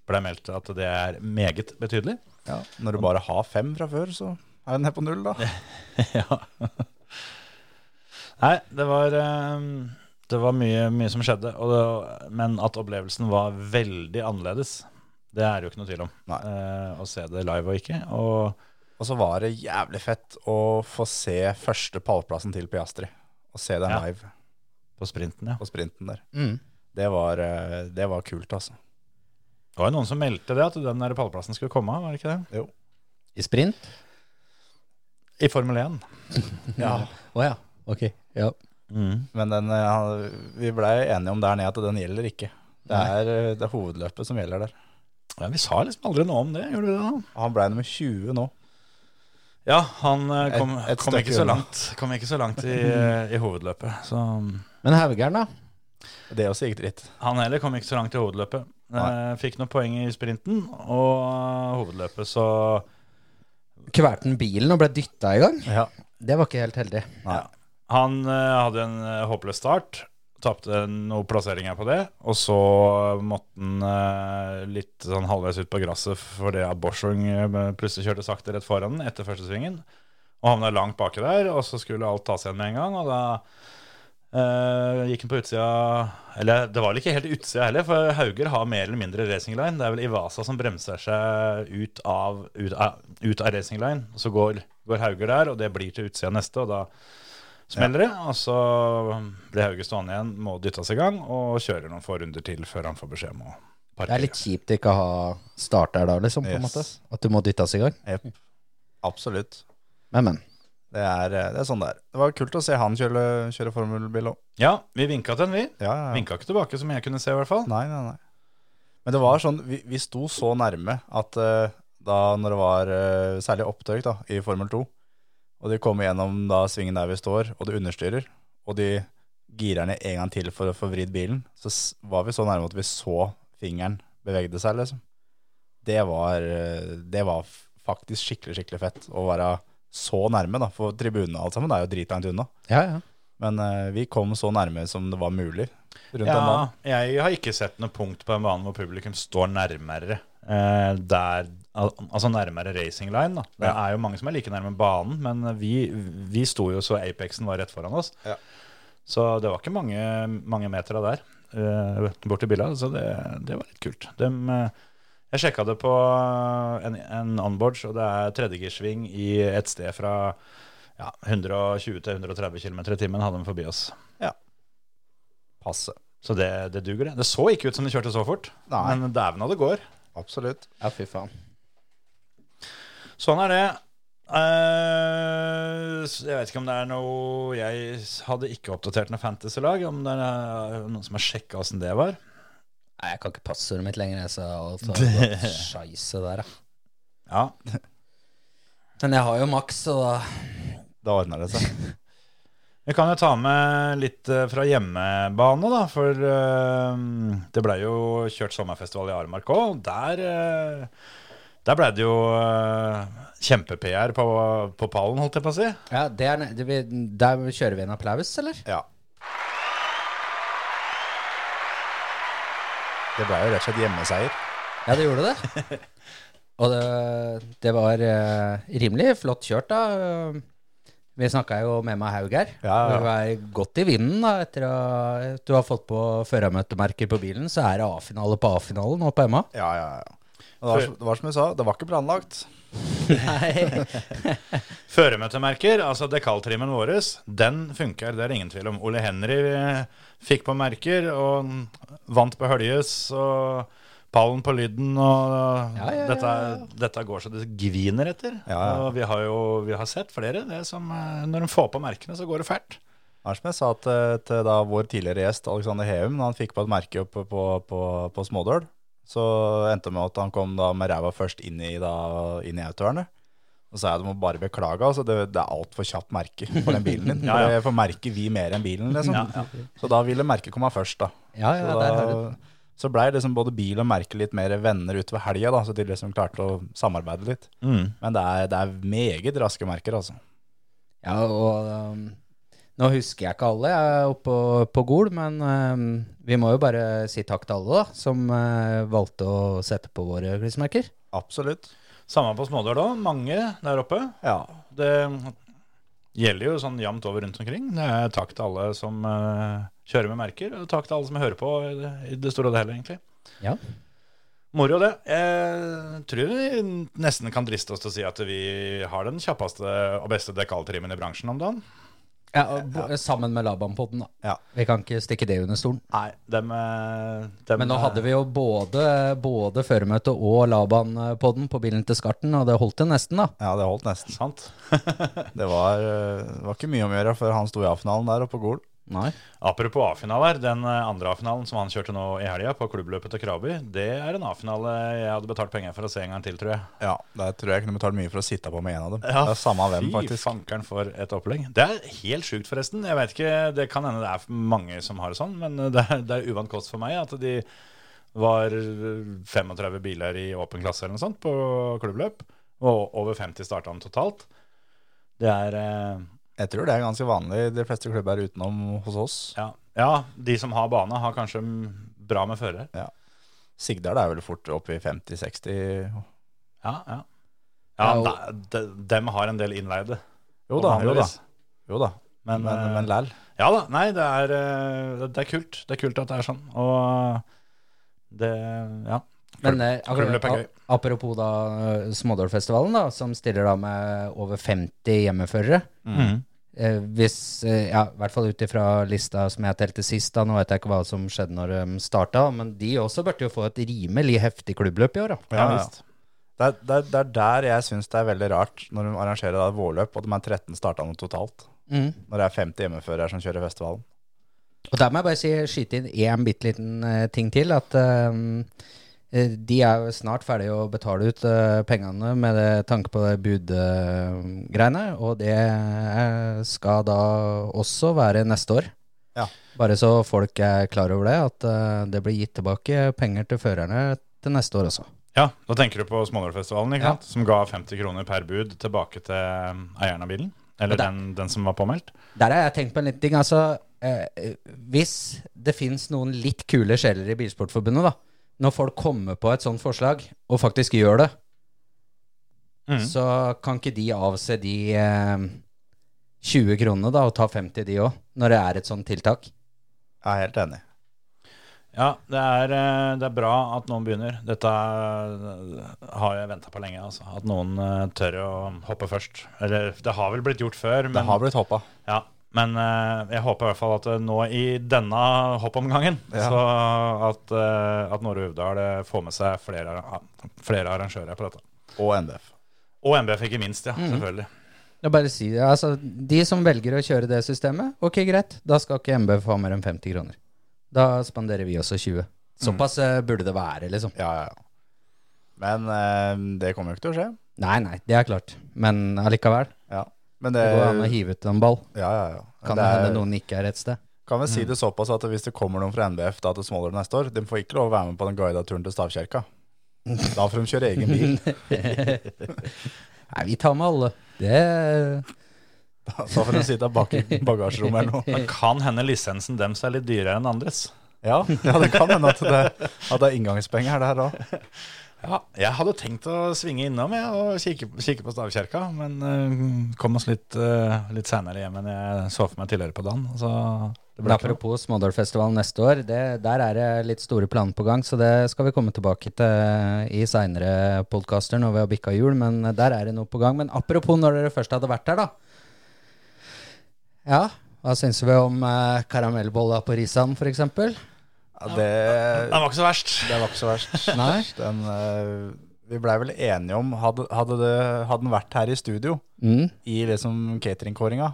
D: ble meldt at det er meget betydelig.
E: Når du bare har fem fra før, så er den her på null, da.
D: ja. Nei, det var eh, Det var mye, mye som skjedde. Og det, men at opplevelsen var veldig annerledes, det er det jo ikke noe tvil om.
E: Nei.
D: Eh, å se det live og ikke. Og
E: Og så var det jævlig fett å få se første pallplassen til Piastri. Og se den
D: Ja.
E: live
D: på sprinten, ja.
E: på sprinten der.
F: Mm.
E: Det var, eh, det var kult, altså.
D: Det var jo noen som meldte det, at den der pallplassen skulle komme. var det ikke det?
F: I sprint?
D: I Formel 1.
E: Ja.
F: Å ja. Ok. Ja.
D: Mm.
E: Men den, eh, han- vi blei enige om der nede at den gjelder ikke. Det er, eh, det er hovedløpet som gjelder der.
D: Ja, vi sa liksom aldri noe om det. Gjorde vi det da?
E: Han blei nummer 20 nå.
D: Ja, han eh, kom,
E: Et- et
D: kom,
E: stykke
D: ikke så
E: unna.
D: langt, kom ikke så langt i, eh, i hovedløpet. Så um,
F: Men Haugern, da?
E: Det også gikk dritt.
D: han heller kom ikke så langt i hovedløpet.
E: Nei.
D: Eh, Fikk noen poeng i sprinten og eh, hovedløpet, så
F: Kvalte han bilen og ble dytta i gang?
E: Ja.
F: Det var ikke helt heldig.
E: Nei.
D: Han eh, hadde en eh, håpløs start. Tapte noen plasseringer på det, og så måtte han eh, litt sånn halvveis ut på gresset fordi at Borsung eh, plutselig kjørte sakte rett foran den etter første svingen. Og havna langt baki der, og så skulle alt tas igjen med en gang. Og da eh, gikk han på utsida Eller det var vel ikke helt utsida heller, for Hauger har mer eller mindre racing line. Det er vel Ivasa som bremser seg ut av, ut av, ut av racing line. Og så går, går Hauger der, og det blir til utsida neste, og da smeller det, og så blir Hauge stående igjen, må dyttes i gang, og kjører noen få runder til før han får beskjed om å
F: Det er
D: parkere.
F: litt kjipt ikke å ha start der da, liksom. på en måte.
E: Yes.
F: At du må dyttes i gang.
E: Jep. Absolutt.
F: Men, men.
E: Det er, eh, det er sånn det er. Det var kult å se han kjøre, kjøre formelbil òg.
D: Ja, vi vinka til en, vi.
E: Ja, ja, ja.
D: Vinka ikke tilbake, som jeg kunne se, i hvert fall.
E: Nei, nei, nei. Men det var sånn, vi, vi sto så nærme at eh, da når det var eh, særlig opptøk da, i Formel 2, og de kommer gjennom da svingen der vi står, og det understyrer, og de girer ned en gang til for å få vridd bilen, så s- var vi så nærme at vi så fingeren bevegde seg, liksom. Det var, eh, det var f- faktisk skikkelig, skikkelig fett å være så nærme, da, for tribunene og alt sammen er jo dritlangt unna.
F: Ja, ja.
E: Men eh, vi kom så nærme som det var mulig rundt den banen.
D: Ja, jeg har ikke sett noe punkt på en bane hvor publikum står nærmere eh, der al- Altså nærmere racing line, da. Det
E: Ja.
D: er jo mange som er like nærme banen, men vi, vi sto jo så Apexen var rett foran oss.
E: Ja.
D: Så det var ikke mange, mange meter av der eh, bort til Billa, så det, det var litt kult. Dem, eh, jeg sjekka det på en, en onboard, og det er tredjegirsving i et sted fra ja, 120 til 130 km i timen hadde de forbi oss.
E: Passe.
D: Så det, det duger, det. Det så ikke ut som de kjørte så fort,
E: Nei.
D: men dæven av det går.
E: Absolutt.
F: ja fy faen.
D: Sånn er det. Eh, så jeg vet ikke om det er noe Jeg hadde ikke oppdatert noe fantasy-lag. Om det er noen som har sjekka åssen det var.
F: Nei, jeg kan ikke passordet mitt lenger. Jeg, så alt har gått scheisse der, da.
D: Ja,
F: Men jeg har jo maks, så da
E: Da ordner det seg.
D: Vi kan jo ta med litt eh, fra hjemmebane, da. For eh, det ble jo kjørt sommerfestival i Aremark òg. Der, eh, der ble det jo eh, kjempe-PR på, på pallen, holdt jeg på å si.
F: Ja, det er, det vi, Der kjører vi en applaus, eller?
E: Ja. Det ble jo rett og slett hjemmeseier.
F: Ja, det gjorde det. Og det, det var eh, rimelig flott kjørt, da. Vi snakka jo med meg Haug her.
E: Ja, ja, ja.
F: Du er godt i vinden da, etter at du har fått på førermøtemerker på bilen. Så er det A-finale på A-finale nå på MA.
E: Ja, ja, ja. Det var, det var som jeg sa, det var ikke planlagt.
F: Nei.
D: Føremøtemerker, altså dekaltrimmen vår, den funker, det er ingen tvil om. Ole Henry eh, fikk på merker og vant på Høljes og pallen på lyden og
F: Ja, ja, ja,
D: Dette,
F: ja, ja.
D: dette går så det gviner etter.
E: Ja, ja.
D: Og vi har jo vi har sett flere det som eh, Når de får på merkene, så går det fælt.
E: Det var som jeg sa til, til da vår tidligere gjest Alexander Heum, da han fikk på et merke oppe på, på, på Smådøl, så endte det med at han kom da med ræva først inn i, da, inn i autovernet. Og så sa jeg du må bare beklage, altså det, det er altfor kjapt merke på den bilen din.
D: Ja, ja.
E: For merker vi mer enn bilen, liksom.
D: Ja, ja.
E: Så da ville merket komme først, da.
F: Ja, ja,
E: Så
F: der har du
E: da- Så blei liksom både bil og merke litt mer venner utover helga, da, så de liksom klarte å samarbeide litt.
D: Mm.
E: Men det er, det er meget raske merker, altså.
F: Ja, og um, nå husker jeg ikke alle jeg er oppe på Gol, men um, vi må jo bare si takk til alle da, som uh, valgte å sette på våre klistremerker.
E: Absolutt.
D: Samme på Smådøl òg. Mange der oppe.
E: Ja.
D: Det gjelder jo sånn jevnt over rundt omkring. Det er takk til alle som eh, kjører med merker, og takk til alle som hører på i det, i det store og det hele, egentlig.
F: Ja.
D: Moro, det. Jeg tror vi nesten kan driste oss til å si at vi har den kjappeste og beste dekaltrimen i bransjen om dagen.
F: og bo, Sammen med Labanpodden, da.
E: Ja.
F: Vi kan ikke stikke det under stolen.
D: Nei, dem, eh, dem,
F: Men nå hadde vi jo både, både føremøte og Labanpodden på bilen til Skarten, og det holdt det nesten, da.
E: Ja, det holdt nesten.
D: eh, Sant.
E: Det var, eh, det var ikke mye om å gjøre før han sto i A-finalen der oppe på Gol.
F: Nei.
D: Apropos A-finaler, den eh, andre A-finalen som han kjørte nå i helga på klubbløpet til Krabi, det er en A-finale jeg hadde betalt penger for å se en gang til, tror jeg.
E: Ja, der tror jeg jeg kunne betalt mye for å sitte på med en av dem. det er samme hvem, faktisk.
D: Fy fankeren for et opplegg. Det er helt sjukt, forresten. Jeg vet ikke, Det kan hende det er mange som har det sånn, men det er, det er uvant kost for meg at de var 35 biler i åpen klasse eller noe sånt på klubbløp, og over 50 starta han totalt. Det er eh,
E: Jeg tror det er ganske vanlig i de fleste klubber utenom hos oss.
D: ja, ja, de som har bane, har kanskje bra med fører.
E: Sigdal er vel fort oppe i 50-60
D: Ja, ja.
F: Ja,
D: Ja,
F: og-
D: da, de, dem har en del innleide.
E: Jo da, jo da.
D: vanligvis.
E: Jo da.
D: Men,
E: Men, men,
D: eh,
E: læl.
D: Ja da, nei, det er, eh, det er kult. Det er kult at det er sånn. Og det Ja.
F: Men eh,
D: Klubb- klubbløp er
F: akkurat,
D: gøy.
F: a- apropos da eh, Smådålfestivalen, da, som stiller da med over 50 hjemmeførere.
D: Mm.
F: Eh, hvis, eh, ja, I hvert fall ut ifra lista som jeg telte sist, da, nå vet jeg ikke hva som skjedde når de starta, men de også burde jo få et rimelig heftig klubbløp i år. da.
E: Ja, ja. Det, er- det, er- det er der jeg syns det er veldig rart når de arrangerer da vårløp, og de er 13 startende totalt.
F: Mm.
E: Når det er 50 hjemmeførere som kjører festivalen.
F: Og der må jeg bare si, skyte inn én bitte liten eh, ting til. At eh, eh, de er jo snart ferdige å betale ut eh, pengene med det, tanke på det budgreiene. og det eh, skal da også være neste år.
E: Ja.
F: Bare så folk er klar over det, at eh, det blir gitt tilbake penger til førerne til neste år også.
D: ja, da tenker du på Smålårfestivalen, ikke
F: Ja.
D: sant? Som ga 50 kroner per bud tilbake til eh, eieren av bilen. Eller
F: Og der-
D: den, den som var påmeldt.
F: Der har jeg tenkt på en liten ting. Altså, eh, eh, hvis det finnes noen litt kule sjeler i Bilsportforbundet, da. Når folk kommer på et sånt forslag, og faktisk gjør det,
D: Mhm.
F: så kan ikke de avse de eh, 20 kronene, da, og ta 50 de òg, når det er et sånt tiltak.
E: Jeg er helt enig.
D: Ja, det er, eh, det er bra at noen begynner. Dette er- har jeg venta på lenge. altså. At noen eh, tør å hoppe først. Eller det har vel blitt gjort før.
E: Det
D: Men,
E: har blitt hoppa.
D: ja, men eh, jeg håper i hvert fall at eh, nå i denne hoppomgangen,
E: Ja.
D: så at, eh, at Nore Uvdal eh, får med seg flere, ar- flere arrangører på dette.
E: Og NDF.
D: Og MBF, ikke minst. ja, selvfølgelig.
F: Jeg bare si, det, altså, de som velger å kjøre det systemet, ok, greit. Da skal ikke MB få mer enn 50 kroner. Da spanderer vi også 20. Såpass eh, burde det være, liksom.
E: Ja, ja, ja. Men eh, det kommer jo ikke til å skje.
F: Nei, nei, det er klart. Men allikevel.
E: Ja. Men
F: Det
E: det,
F: går an å hive ut en ball.
E: ja, ja, ja.
F: Kan
E: Eh, det
F: det
E: er-
F: hende noen Mm. ikke er et sted.
E: Kan vi si det såpass at hvis det kommer noen fra NBF da til Smålåret neste år, de får ikke lov å være med på den guida turen til Stavkirka. Da får de kjøre egen bil.
F: Nei, vi tar med alle. Det
E: Da får de sitte bak i bagasjerommet eller noe.
D: Men kan hende lisensen deres er litt dyrere enn andres.
E: Ja, ja det kan hende at det, at det er inngangspenger der òg.
D: Ja, Jeg hadde tenkt å svinge innom jeg, og kikke, kikke på stavkirka, men eh, kom oss litt, uh, litt seinere hjem enn jeg så for meg tidligere på dagen. Så det
F: men
D: ble ikke noe.
F: Apropos Smådalfestivalen neste år, det, der er det litt store planer på gang. Så det skal vi komme tilbake til i seinere podkaster når vi har bikka jul. Men der er det noe på gang. Men apropos når dere først hadde vært der, da. Ja, hva syns vi om eh, karamellbolla på Risan f.eks.?
E: Ja, det,
D: Den var ikke så verst.
E: det var ikke så verst.
F: Nei.
E: Den, eh, vi blei vel enige om Hadde, hadde, det, hadde den vært her i studio,
F: Mm.
E: i liksom cateringkåringa,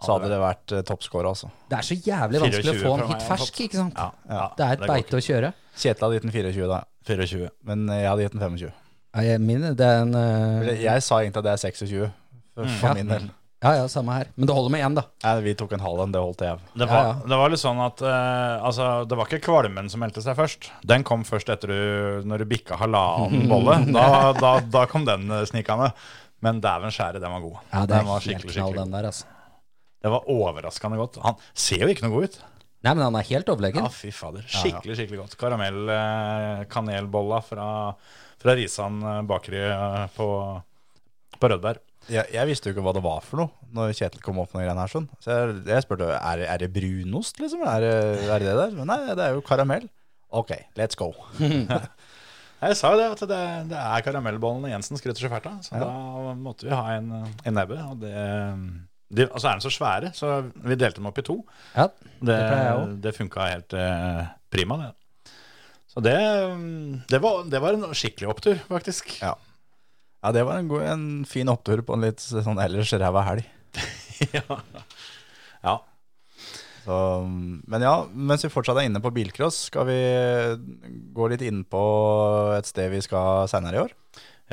E: så hadde det vært eh, toppscore, altså.
F: Det er så jævlig vanskelig å
D: 24
F: få
D: fra
F: den hit
D: meg,
F: fersk, ikke sant?
D: Ja, ja,
F: Det er et
D: det går
F: beite å kjøre.
E: Kjetil hadde gitt den 24, da.
D: 24.
E: Men jeg hadde gitt den 25.
F: Ja, jeg- Min, det er en eh,
E: Eller, Jeg sa egentlig at det er 26, for, for
F: Ja.
E: min del.
F: Ja, ja, samme her. Men det holder med én, da.
E: Mm. Nei, vi tok en halv en, det holdt jeg av.
D: Det var,
F: Ja, ja.
D: det var litt sånn at eh, altså, det var ikke kvalmen som meldte seg først. Den kom først etter du, når du bikka halvannen bolle. Da, da, da kom den eh, snikende. Men dæven skjære, den var god.
F: Ja, det
D: den
F: er
D: var
F: helt
D: skikkelig,
F: knall,
D: skikkelig.
F: den der, altså.
D: Det var overraskende godt. Han ser jo ikke noe god ut.
F: Nei, men han er helt overlegen.
D: Ja, fy fader. Skikkelig, skikkelig godt. Karamell, eh, kanelbolla fra, fra Risan eh, bakeri eh, på, på Rødberg.
E: Jeg, jeg visste jo ikke hva det var for noe når Kjetil kom opp med den greia her. sånn. Så jeg, jeg spurte er, det- er det brunost, liksom. Er det, er det det der? Men nei, det er jo karamell. Ok, let's go.
D: Jeg sa jo det, at det, det er karamellbollene Jensen skryter så fælt av. Så da måtte vi ha en, en nebbe. Og det, de, altså er de så svære, så vi delte dem opp i to.
F: Ja,
D: Det,
F: pleier jeg også.
D: det, funka helt eh, prima, det. Så det, mm, det, var, det var en skikkelig opptur, faktisk.
E: Ja. Ja, det var en, god, en fin opptur på en litt sånn ellers ræva helg.
D: Ja. ja.
E: Så, men ja, mens vi fortsatt er inne på bilcross, skal vi gå litt inn på et sted vi skal seinere i år.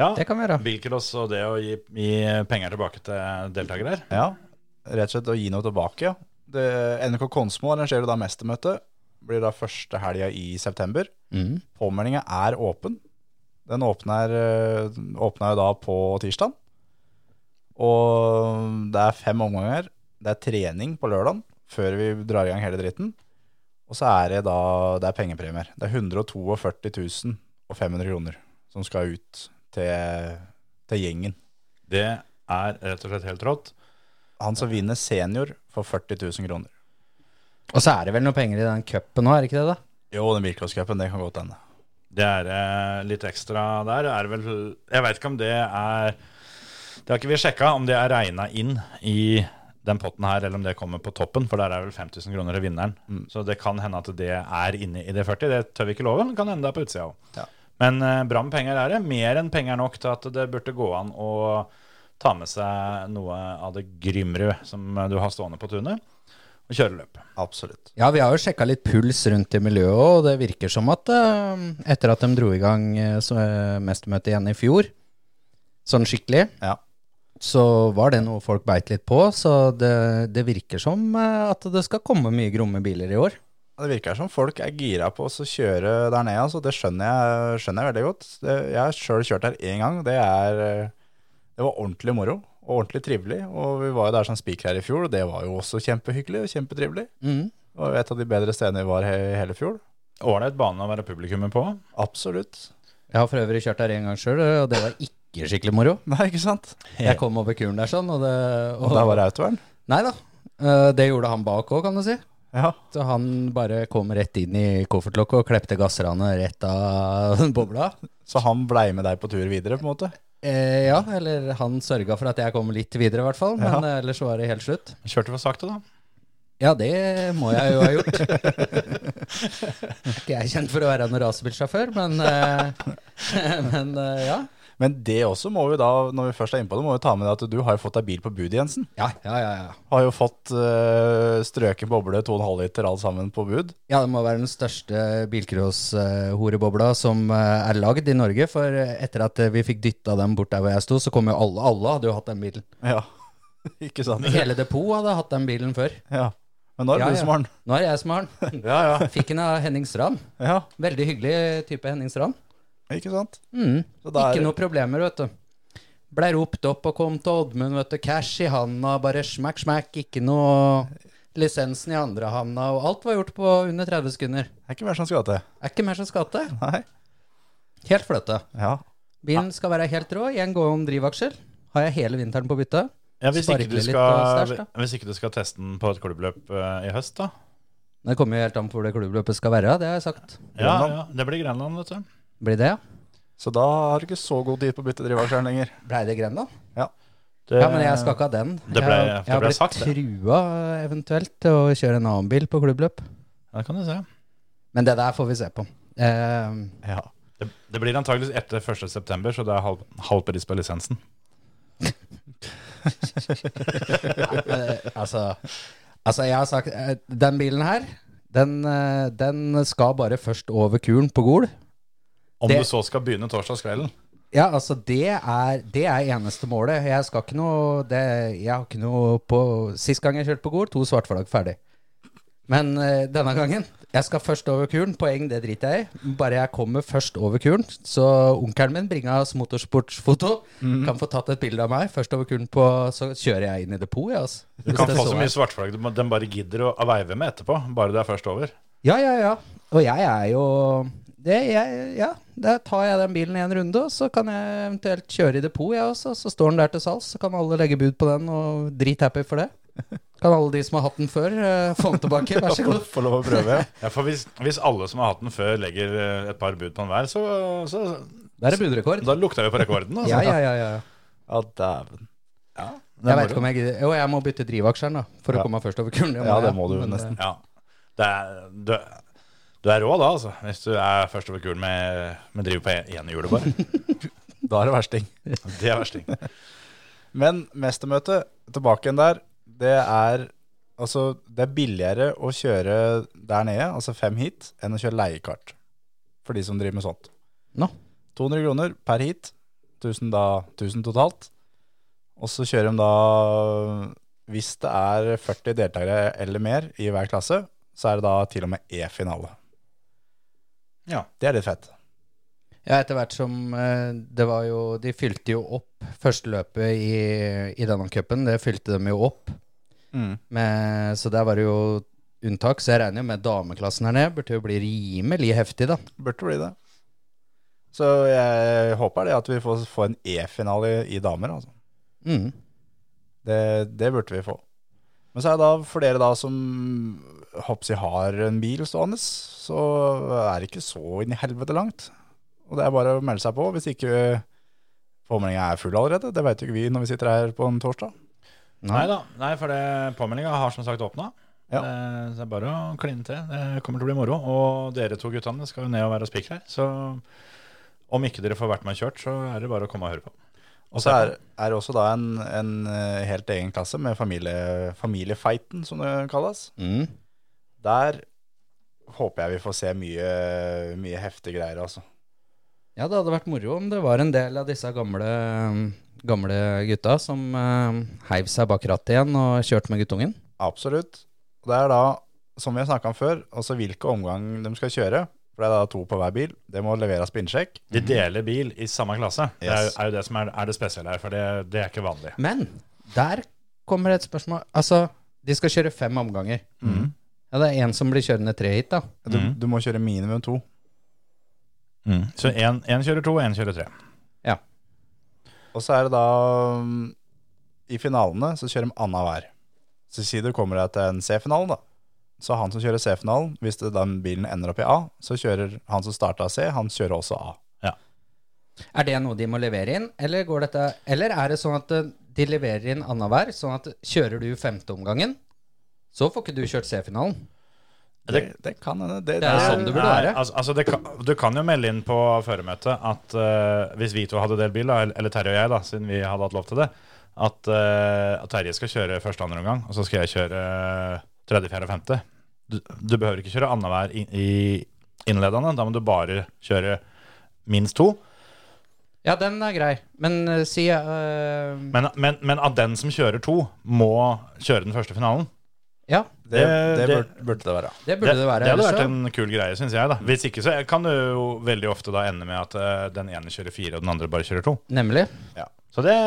D: ja.
F: det kan vi gjøre.
D: Bilcross og det å gi, gi penger tilbake til deltakere her.
E: Ja, rett og slett å gi noe tilbake. ja. Det, NRK Konsmo arrangerer da mestermøte. Blir da første helga i september.
F: Mm.
E: Påmeldinga er åpen. Den åpner, eh, åpna jo da på tirsdag. Og det er fem omganger. Det er trening på lørdag før vi drar i gang hele dritten. Og så er det da det er pengepremier. Det er 142 500 kroner som skal ut til, til gjengen.
D: Det er rett og slett helt rått.
E: Han som vinner senior, får 40 000 kroner.
F: Og så er det vel noe penger i den cupen nå, er det ikke det, da?
E: Jo, den bilcrosscupen, det kan godt hende.
D: Det er eh, litt ekstra der. Er vel, jeg veit ikke om det er Det har ikke vi sjekka, om det er regna inn i den potten her, eller om det kommer på toppen, for der er vel 5000 kroner i vinneren. Så det kan hende at det er inne i det 40. Det tør vi ikke love, men kan hende det er på utsida òg.
E: Ja.
D: Men eh, bra med penger er det. Mer enn penger nok til at det burde gå an å ta med seg noe av det Grymrud som eh, du har stående på tunet, og kjøre løp.
E: Absolutt.
F: Ja, vi har jo sjekka litt puls rundt i miljøet, og det virker som at eh, etter at de dro i gang eh, så, eh, mestermøtet igjen i fjor, sånn skikkelig,
E: Ja.
F: så var det noe folk beit litt på. Så det, det virker som eh, at det skal komme mye gromme biler i år.
E: Det virker som folk er gira på å kjøre der nede, altså. Det skjønner jeg, skjønner jeg veldig godt. Det, jeg har sjøl kjørt her én gang. Det, er, eh, det var ordentlig moro og ordentlig trivelig. Og vi var jo der som spiker her i fjor, og det var jo også kjempehyggelig og kjempetrivelig.
F: Mm.
E: Det var jo et av de bedre stedene vi var he hele fjor.
D: Ålreit bane å være publikummer på.
E: Absolutt.
F: Jeg har for øvrig kjørt der en gang sjøl, og det var ikke skikkelig moro.
E: Nei, ikke sant?
F: Jeg kom over kuren der sånn, og det og,
E: Og der var det autovern.
F: Nei da. Eh, Det gjorde han bak òg, kan du si.
E: Ja.
F: Så han bare kom rett inn i koffertlokket og klepte gassranet rett av bobla.
E: Så han blei med deg på tur videre, på en måte?
F: Eh, ja, eller han sørga for at jeg kom litt videre, i hvert fall. Men eh, ellers så var det helt slutt.
D: Kjørte for sakte, da.
F: Ja, det må jeg jo ha gjort. Ikke jeg kjent for å være en racerbilsjåfør, men, eh, men eh, ja.
E: Men det også må vi da, når vi først er inne på det, må vi ta med det at du har jo fått deg bil på bud, Jensen.
F: Ja, ja, ja. ja.
E: Har jo fått uh, strøket boble 2,5 liter alt sammen på bud.
F: Ja, det må være den største bilcross-horebobla som eh, er lagd i Norge. For eh, etter at eh, vi fikk dytta dem bort der hvor jeg sto, så kom jo alle. Alle hadde jo hatt den bilen.
E: Ja, ikke sant?
F: Hele depotet hadde hatt den bilen før.
E: Ja. Men nå er det
F: Ja, ja.
E: du som har den.
F: Nå er det jeg som har den.
E: Ja, ja.
F: Fikk den av Henning Strand.
E: ja,
F: Veldig hyggelig type Henning Strand.
E: ikke sant?
F: Mm.
E: Så da er-
F: Ikke noe problemer, vet du. Blei ropt opp og kom til Oddmund, vet du. Cash i handa, bare smakk, smakk. Ikke noe lisensen i andre handa, og alt var gjort på under 30 sekunder.
E: Det er ikke hver som skal til.
F: Er ikke mer som skal til.
E: Nei.
F: Helt fløte.
E: Ja.
F: Bilen skal være helt rå. Én gående drivaksel har jeg hele vinteren på bytte.
D: Ja, hvis, ikke
F: Sparkle
D: du
F: litt
D: skal,
F: på stæsj, da.
D: hvis ikke du skal teste den på et klubbløp eh, i høst, da.
F: Det kommer jo helt an på hvor det klubbløpet skal være, det har jeg sagt.
D: Ja,
E: Grenland.
D: ja, det blir Grenland, vet du.
F: Blir det, ja?
E: Så da har du ikke så god tid på å bytte drivaksjeren lenger.
F: Blei det Grenland?
E: Ja.
D: Det,
F: Ja, men jeg skal ikke ha den.
D: Det ble-
F: jeg,
D: det
F: jeg har
D: ble
F: blitt
D: sagt, det.
F: trua eventuelt til å kjøre en annen bil på klubbløp.
D: Ja, det kan du se.
F: Men det der får vi se på. Eh,
E: Ja.
D: Det, det blir antageligvis etter 1. september, så det er halv, halv pris på lisensen.
F: eh, altså, altså, jeg har sagt eh, Den bilen her, den, eh, den skal bare først over kuren på Gol.
D: Om
F: Det-
D: du så skal begynne torsdagskvelden.
F: Ja, altså det er, det er eneste målet. Jeg skal ikke noe det, Jeg har ikke noe på Sist gang jeg kjørte på Gol, to svartflagg ferdig. Men eh, denne gangen Jeg skal først over kuren. Poeng, det driter jeg i. Bare jeg kommer først over kuren. Så onkelen min bringa oss motorsportsfoto.
D: Mhm.
F: Kan få tatt et bilde av meg først over kuren, på, så kjører jeg inn i depot. jeg, altså.
D: Du
F: Hvis
D: kan
F: det
D: få
F: så
D: så
F: er.
D: mye svartflagg du må- den bare gidder å å veive med etterpå. Bare du er først over.
F: Ja, ja, ja. Og jeg er jo det, jeg, Ja, da tar jeg den bilen i en runde, og så kan jeg eventuelt kjøre i depot, jeg også. Så står den der til salgs, så kan alle legge bud på den, og drithappy for det. Kan alle de som har hatt den før, eh, få den tilbake, vær så god.
E: Få lov å prøve.
D: Ja, for hvis, hvis alle som har hatt den før, legger eh, et par bud på den hver, så, så
F: Der er budrekord.
D: Da lukter vi på rekorden. Altså.
F: Ja, ja, ja. ja.
E: Ja, dæven.
F: Jeg vet ikke om jeg gidder. Jo, jeg må bytte drivaksjeren, da, for å komme meg først over kulen.
E: Ja, det
F: jeg.
E: må du
F: Men, eh,
E: nesten.
D: Ja. Det er, du, du er rå da, altså. Hvis du er først over kulen med, med driv på én hjulet, bare.
E: Da er det versting.
D: Det er versting.
E: Men mestermøte, tilbake igjen der, det er Altså, det er billigere å kjøre der nede, altså fem hit, enn å kjøre leiekart. For de som driver med sånt.
F: Nå.
E: 200 kroner per hit. 1000 da, 1000 totalt. Og så kjører de da Hvis det er 40 deltakere eller mer i hver klasse, så er det da til og med E-finale.
D: Ja.
E: Det er litt fett.
F: Ja, etter hvert som eh, det var jo De fylte jo opp første løpet i, i denne cupen. Det fylte de jo opp.
E: Mm.
F: Med, så der var det jo unntak. Så jeg regner jo med dameklassen her nede burde jo bli rimelig heftig, da.
E: Burde bli det. Så jeg håper det at vi får, får en E-finale i damer, altså.
F: Mm.
E: Det, det burde vi få. Men så er det da, for dere da som hoppsi har en bil stående, så er det ikke så inn i helvete langt. Og det er bare å melde seg på hvis ikke påmeldinga er full allerede. Det veit jo ikke vi når vi sitter her på en torsdag.
D: Nei da. Nei, for det påmeldinga har som sagt åpna.
E: Ja.
D: Eh, Så det er bare å kline til. Det kommer til å bli moro. Og dere to guttene skal jo ned og være spikere. Så om ikke dere får vært med og kjørt, så er det bare å komme og høre på.
E: Og så er, er det også da en, en eh, helt egen klasse med familie, familiefighten, som det kalles.
F: Mm.
E: Der håper jeg vi får se mye, mye heftige greier, altså.
F: Ja, det hadde vært moro om det var en del av disse gamle, gamle gutta som eh, heiv seg bak rattet igjen og kjørte med guttungen.
E: Absolutt. Og det er da, som vi har snakka om før, altså hvilke omgang de skal kjøre. For det er da to på hver bil. Det må leveres på innsjekk.
D: De deler bil i samme klasse. Det er,
E: Mhm. Yes.
D: er jo det som er, er det spesielle her, for det, det er ikke vanlig.
F: Men der kommer et spørsmål. Altså, de skal kjøre fem omganger.
E: Mhm.
D: Mm.
F: Ja, det er én som blir kjørende tre hit, da.
E: Du, du må kjøre minimum to. Mhm.
D: Så én én kjører to, én kjører tre.
F: Ja.
E: Og så er det da mm, I finalene så kjører de annenhver. Så si du kommer deg til en C-finale, da. Så han som kjører C-finalen, hvis det, den bilen ender opp i A, så kjører han som starta C, han kjører også A.
F: Er det noe de må levere inn, eller, går dette, eller er det sånn at eh, de leverer inn annenhver, sånn at kjører du femteomgangen, så får ikke du kjørt C-finalen?
E: Det, det kan hende. Det,
F: Det er sånn det burde
D: Nei,
F: være.
D: Altså, altså det kan, du kan jo melde inn på føremøtet at eh, hvis vi to hadde delt bil, da, eller- eller Terje og jeg, da, siden vi hadde hatt lov til det, at, eh, at Terje skal kjøre første andre omgang, og så skal jeg kjøre eh, tredje, fjerde og femte. Du, du behøver ikke kjøre annenhver i, i innledende. Da må du bare kjøre minst to.
F: Ja, den er grei, men eh, si eh,
D: Men, men, men at den som kjører to, må kjøre den første finalen.
F: Ja,
E: det,
D: det-
E: det
D: det-
E: burde, burde det være.
F: det burde det, være.
D: hadde
F: ellers
D: vært
F: så-
D: en kul greie, syns jeg. da Hvis ikke så kan det jo veldig ofte da ende med at eh, den ene kjører fire, og den andre bare kjører to.
F: Nemlig.
D: Så det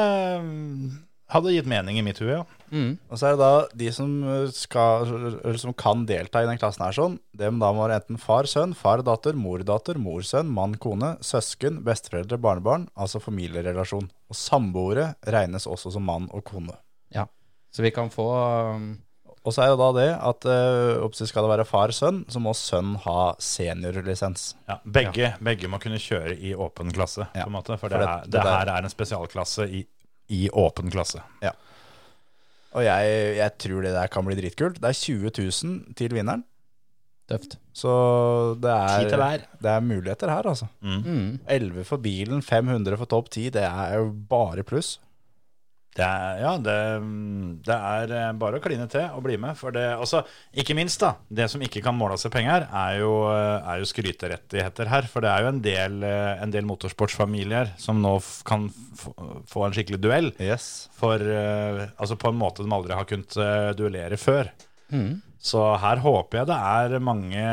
D: mm, hadde gitt mening i mitt hue, ja.
F: Mm.
E: Og så er det da de som, eh, skal, eller som kan delta i den klassen her sånn, dem da må være enten far, sønn, far, datter, mor, datter, mor, sønn, mann, kone, søsken, besteforeldre, barnebarn, altså familierelasjon. Og samboere regnes også som mann og kone.
F: Ja. Så vi kan få um,
E: Og så er det da det at eh, oppsett skal det være far, sønn, så må sønn ha seniorlisens.
D: ja begge, begge må kunne kjøre i åpen klasse,
E: Ja.
D: på en måte. For
E: For
D: det,
E: det-
D: er,
E: det
D: det
E: der-
D: her er en spesialklasse i, i åpen klasse.
E: Og jeg, jeg tror det der kan bli dritkult. Det er 20 000 til vinneren,
F: tøft.
E: så det
D: Ti til
E: er,
D: hver.
E: det er muligheter her, altså.
F: Mm.
E: 11 for bilen, 500 for topp 10, det er jo bare pluss.
D: Det er, ja, det,
E: Mm.
D: det er eh, bare å kline til og bli med. For det, altså, ikke minst, da. Det som ikke kan måles i penger, er jo, eh, er jo skryterettigheter her. For det er jo en del, eh, en del motorsportsfamilier som nå f- kan f få en skikkelig duell.
E: Yes.
D: For eh, altså på en måte de aldri har kunnet eh, duellere før.
E: Mm.
D: Så her håper jeg det er mange,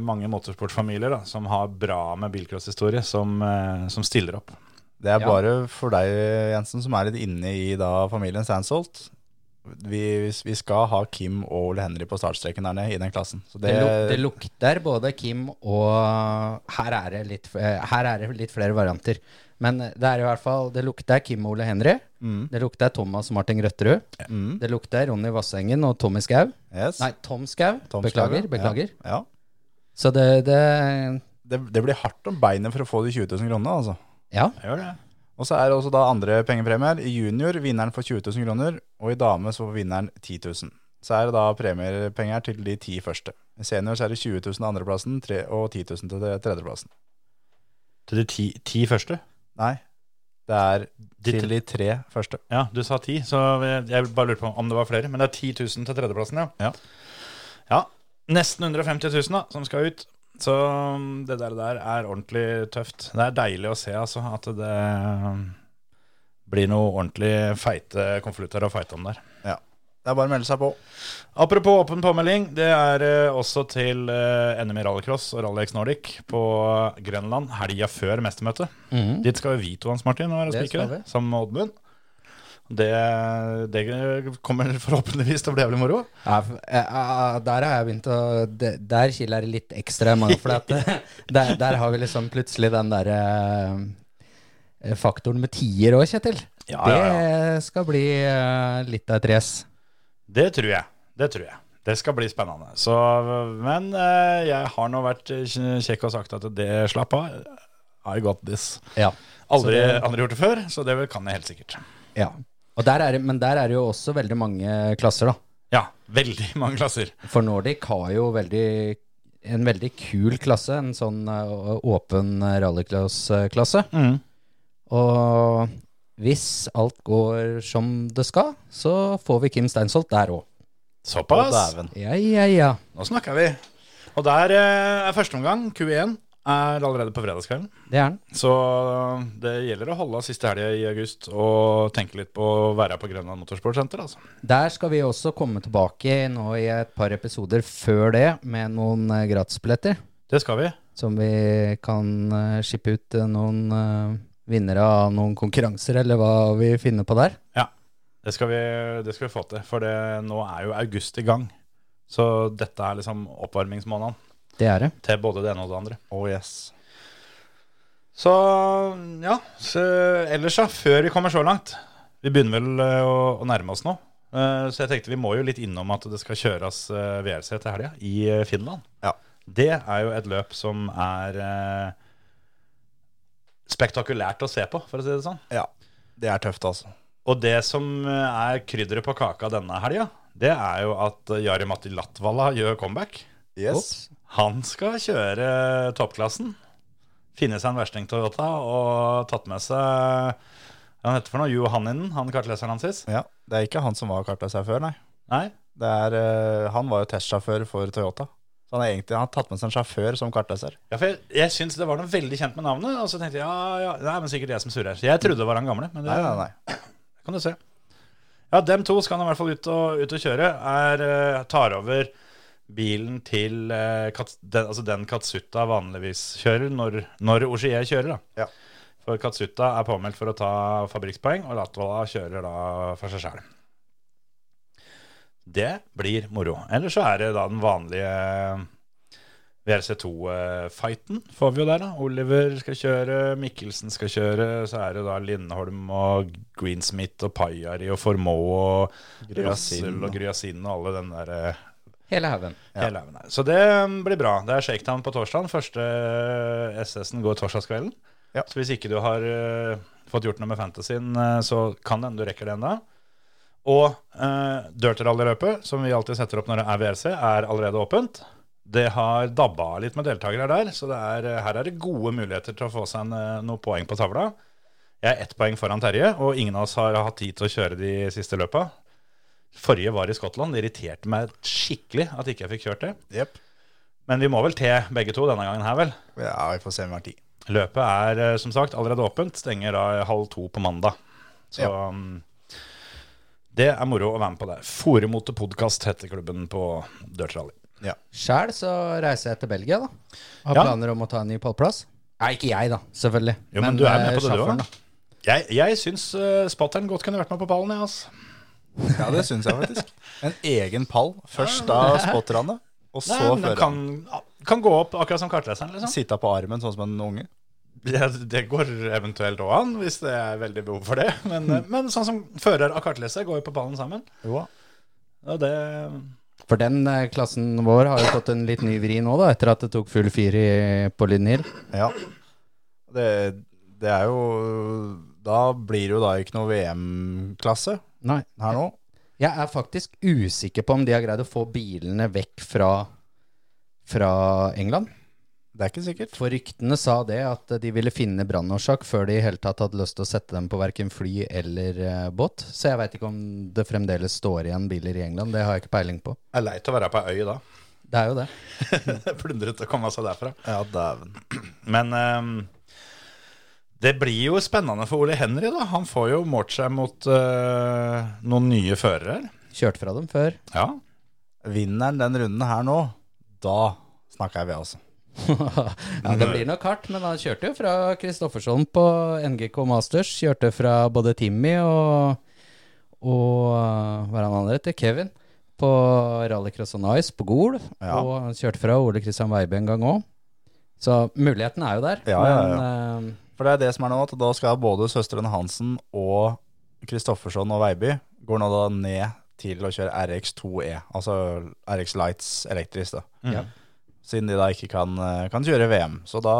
D: mange motorsportfamilier da, som har bra med bilcrosshistorie, som, eh, som stiller opp.
E: Det er
F: Ja.
E: bare for deg, Jensen, som er litt inne i da familien Sandsholt. Vi, vi skal ha Kim og Ole Henry på startstreken der nede i den klassen. Så det,
F: Det, luk, det lukter både Kim og her er, det litt, eh, her er det litt flere varianter. Men det er i hvert fall Det lukter Kim og Ole Henry. Det lukter Thomas Martin Grøtterud. Det lukter Ronny Vassengen og Tommy Skau.
E: Mm. yes.
F: Nei, Tom Skau.
E: Tom
F: beklager.
E: Skauge.
F: beklager.
E: Ja. ja.
F: Så det, det
E: Det, det blir hardt om beinet for å få de 20 000 kronene, altså.
F: Ja.
D: Jeg gjør det.
E: Og så er det også da andre pengepremier. I junior vinneren får 20 000 kroner, og i dame så får vinneren 10 000. Så er det da premiepenger til de ti første. I senior så er det 20 000 til andreplassen tre- og 10 000 til tre- tredjeplassen.
D: Til de ti, ti første?
E: Nei, det er
D: De
E: til de tre første.
D: Ja, du sa ti, så jeg bare lurte på om det var flere. Men det er 10 000 til tredjeplassen, ja.
E: Ja.
D: Ja, nesten 150 000 da, som skal ut. Så um, det der, der er ordentlig tøft. Det er deilig å se altså, at det um, blir noe ordentlig feite konvolutter å feite om der.
E: Ja. Det er bare å melde seg på.
D: Apropos åpen påmelding, det er eh, også til eh, NM i rallycross og Rally X Nordic på Grønland helga før mestermøtet.
F: Mhm.
D: Dit skal jo vi to, Hans Martin, og være
F: Det skal
D: spikere, sammen med Oddmund. Det, det kommer forhåpentligvis til å bli jævlig moro.
F: Ja, f- eh, ah, der har jeg begynt å de- Der kiler det litt ekstra i magen. For at, eh, der, der har vi liksom plutselig den derre faktoren med tier òg, Kjetil.
D: Ja, ja,
F: Det skal bli eh, litt av et race.
D: Det tror jeg. Det tror jeg. Det skal bli spennende. Så, men eh, jeg har nå vært eh, kjekk og sagt at det slapp av. I got this.
F: Ja.
D: Aldri,
F: Så det-
D: aldri gjort det før, så det kan jeg helt sikkert.
F: ja. Og der er, det- men der er det jo også veldig mange klasser, da.
D: Ja, veldig mange klasser.
F: For Nordic har jo veldig en veldig kul klasse, en sånn eh, åpen rallycross-klasse.
D: Mm.
F: Og hvis alt går som det skal, så får vi Kim Steinsholt der òg.
E: Å,
D: Såpass.
E: dæven.
F: Ja, ja, ja.
D: Nå snakker vi. Og der eh, er første omgang, Q1, er allerede på fredagskvelden.
F: Det er han.
D: Så det gjelder å holde av siste helga i august og tenke litt på å være på Grønland Motorsportsenter. Altså.
F: Der skal vi også komme tilbake nå i et par episoder før det med noen eh, gratisbilletter.
D: Det skal vi.
F: Som vi kan eh, skippe ut eh, noen eh, vinnere av noen konkurranser, eller hva vi finner på der.
D: Ja, det skal vi, det skal vi få til. For det, nå er jo august i gang. Så dette er liksom oppvarmingsmåneden
F: Det er det.
D: til både det ene og det andre.
E: Oh yes.
D: Så ja, så, ellers ja, før vi kommer så langt Vi begynner vel eh, å, å nærme oss nå. Eh, Så jeg tenkte vi må jo litt innom at det skal kjøres eh, VRC til helga i eh, Finland.
E: Ja.
D: Det er jo et løp som er eh, spektakulært å se på, for å si det sånn.
E: Ja. Det er tøft, altså.
D: Og det som eh, er krydderet på kaka denne helga, det er jo at eh, Jari Matti Latvala gjør comeback.
E: Yes.
D: Han skal kjøre toppklassen. Finne seg en versting Toyota og tatt med seg hva han heter for noe, Johanninen, han kartleseren hans sist.
E: Ja. Det er ikke han som var kartløser før, nei.
D: Nei,
E: Det er, eh, han var jo testsjåfør for Toyota. Så han har egentlig han har tatt med seg en sjåfør som kartløser.
D: ja, for jeg, jeg syns det var noe veldig kjent med navnet, og så tenkte jeg ja, ja, det er men sikkert jeg som surrer. Jeg trodde det var han gamle, men det
E: Nei, nei, nei.
D: kan du se. Ja, dem to skal han i hvert fall ut og, ut og kjøre. Er, eh, tar over bilen til eh, Kats, den, altså den Katsuta vanligvis kjører når, når Oshiye kjører, da.
E: Ja.
D: For Katsuta er påmeldt for å ta fabrikkspoeng, og Latvala kjører da for seg sjæl. Det blir moro. Ellers så er det da den vanlige eh, VRC2-fighten eh, får vi jo der, da. Oliver skal kjøre, Mikkelsen skal kjøre. Så er det da Lindholm og Greensmith og Pajari og Formoe og
E: Gryasin,
D: Russell
E: da.
D: og Gryasin og alle den der eh,
F: Hele haugen.
D: Hele haugen her. Så det mm, blir bra. Det er shakedown på torsdagen. Første eh, SS-en går torsdagskvelden.
E: Ja.
D: Så hvis ikke du har eh, fått gjort noe med fantasyen, eh, så kan det hende du rekker det ennå. Og uh, dirt rally-løpet, som vi alltid setter opp når det er VRC, er allerede åpent. Det har dabba litt med deltakere der, så det er, her er det gode muligheter til å få seg en, eh, noen poeng eh, på tavla. Jeg er ett poeng foran Terje, og ingen av oss har hatt tid til å kjøre de siste løpa. Forrige var i Skottland. Det irriterte meg skikkelig at ikke jeg fikk kjørt det.
E: Jepp.
D: Men vi må vel til begge to denne gangen her, vel?
E: Ja, vi får se hvem har tid.
D: Løpet er eh, som sagt allerede åpent. Stenger da halv to på mandag. Så mm, det er moro å være med på det. Foremote podkast heter klubben på dørtrally.
F: Sjæl så reiser jeg til Belgia, da. Har
D: Ja.
F: planer om å ta en ny pallplass. Nei, ikke jeg, da. Selvfølgelig.
D: Jo, men, du er med
F: eh,
D: på det, du
F: sjåføren,
D: òg. Jeg, jeg syns uh, spatteren godt kunne vært med på pallen. Jeg, altså.
E: Ja, det syns jeg faktisk. En egen pall. Først da spotterne, og så
D: Nei, men den
E: føreren.
D: kan, kan gå opp akkurat som kartleseren. Liksom.
E: Sitte på armen sånn som en unge.
D: Ja, det går eventuelt òg an, hvis det er veldig behov for det. Men, eh, men sånn som fører av kartleser går jo på pallen sammen.
E: Jo da.
D: Og det,
F: da. For den eh, klassen vår har jo fått en litt ny vri nå, da, etter at det tok full fyr i, på Lynn Hill.
E: Ja. Det, det er jo Da blir det jo da ikke noe VM-klasse
F: Nei.
E: her nå.
F: Jeg er faktisk usikker på om de har greid å få bilene vekk fra, fra England.
E: Det er ikke sikkert.
F: For ryktene sa det at de ville finne brannårsak før de i hele tatt hadde lyst til å sette dem på verken fly eller eh, båt. Så jeg veit ikke om det fremdeles står igjen biler i England. Det har jeg ikke peiling på.
D: er leit å være på ei øy da.
F: Det er jo det.
D: Plundret å komme seg derfra.
E: Ja, dæven.
D: Men ehm, det blir jo spennende for Ole Henry, da. Han får jo målt seg mot eh, noen nye førere.
F: Kjørt fra dem før.
D: Ja.
E: Vinneren den runden her nå, da snakker jeg vi, altså.
F: ja, det blir nok hardt, men han kjørte jo fra Kristoffersson på NGK Masters. Kjørte fra både Timmy og, og uh, hva er han andre heter? Kevin. På Rallycross on Ice på Gol.
E: Ja.
F: Og han kjørte fra Ole Kristian Weibe en gang òg. Så muligheten er jo der.
E: Ja, ja,
F: Men, uh,
E: For det er det som er nå, at da skal både søstrene Hansen og Kristoffersson og Veiby går nå da ned til å kjøre RX2E, altså RX Lights elektrisk da.
F: Ja.
E: Siden de da ikke kan, eh, kan kjøre VM. Så da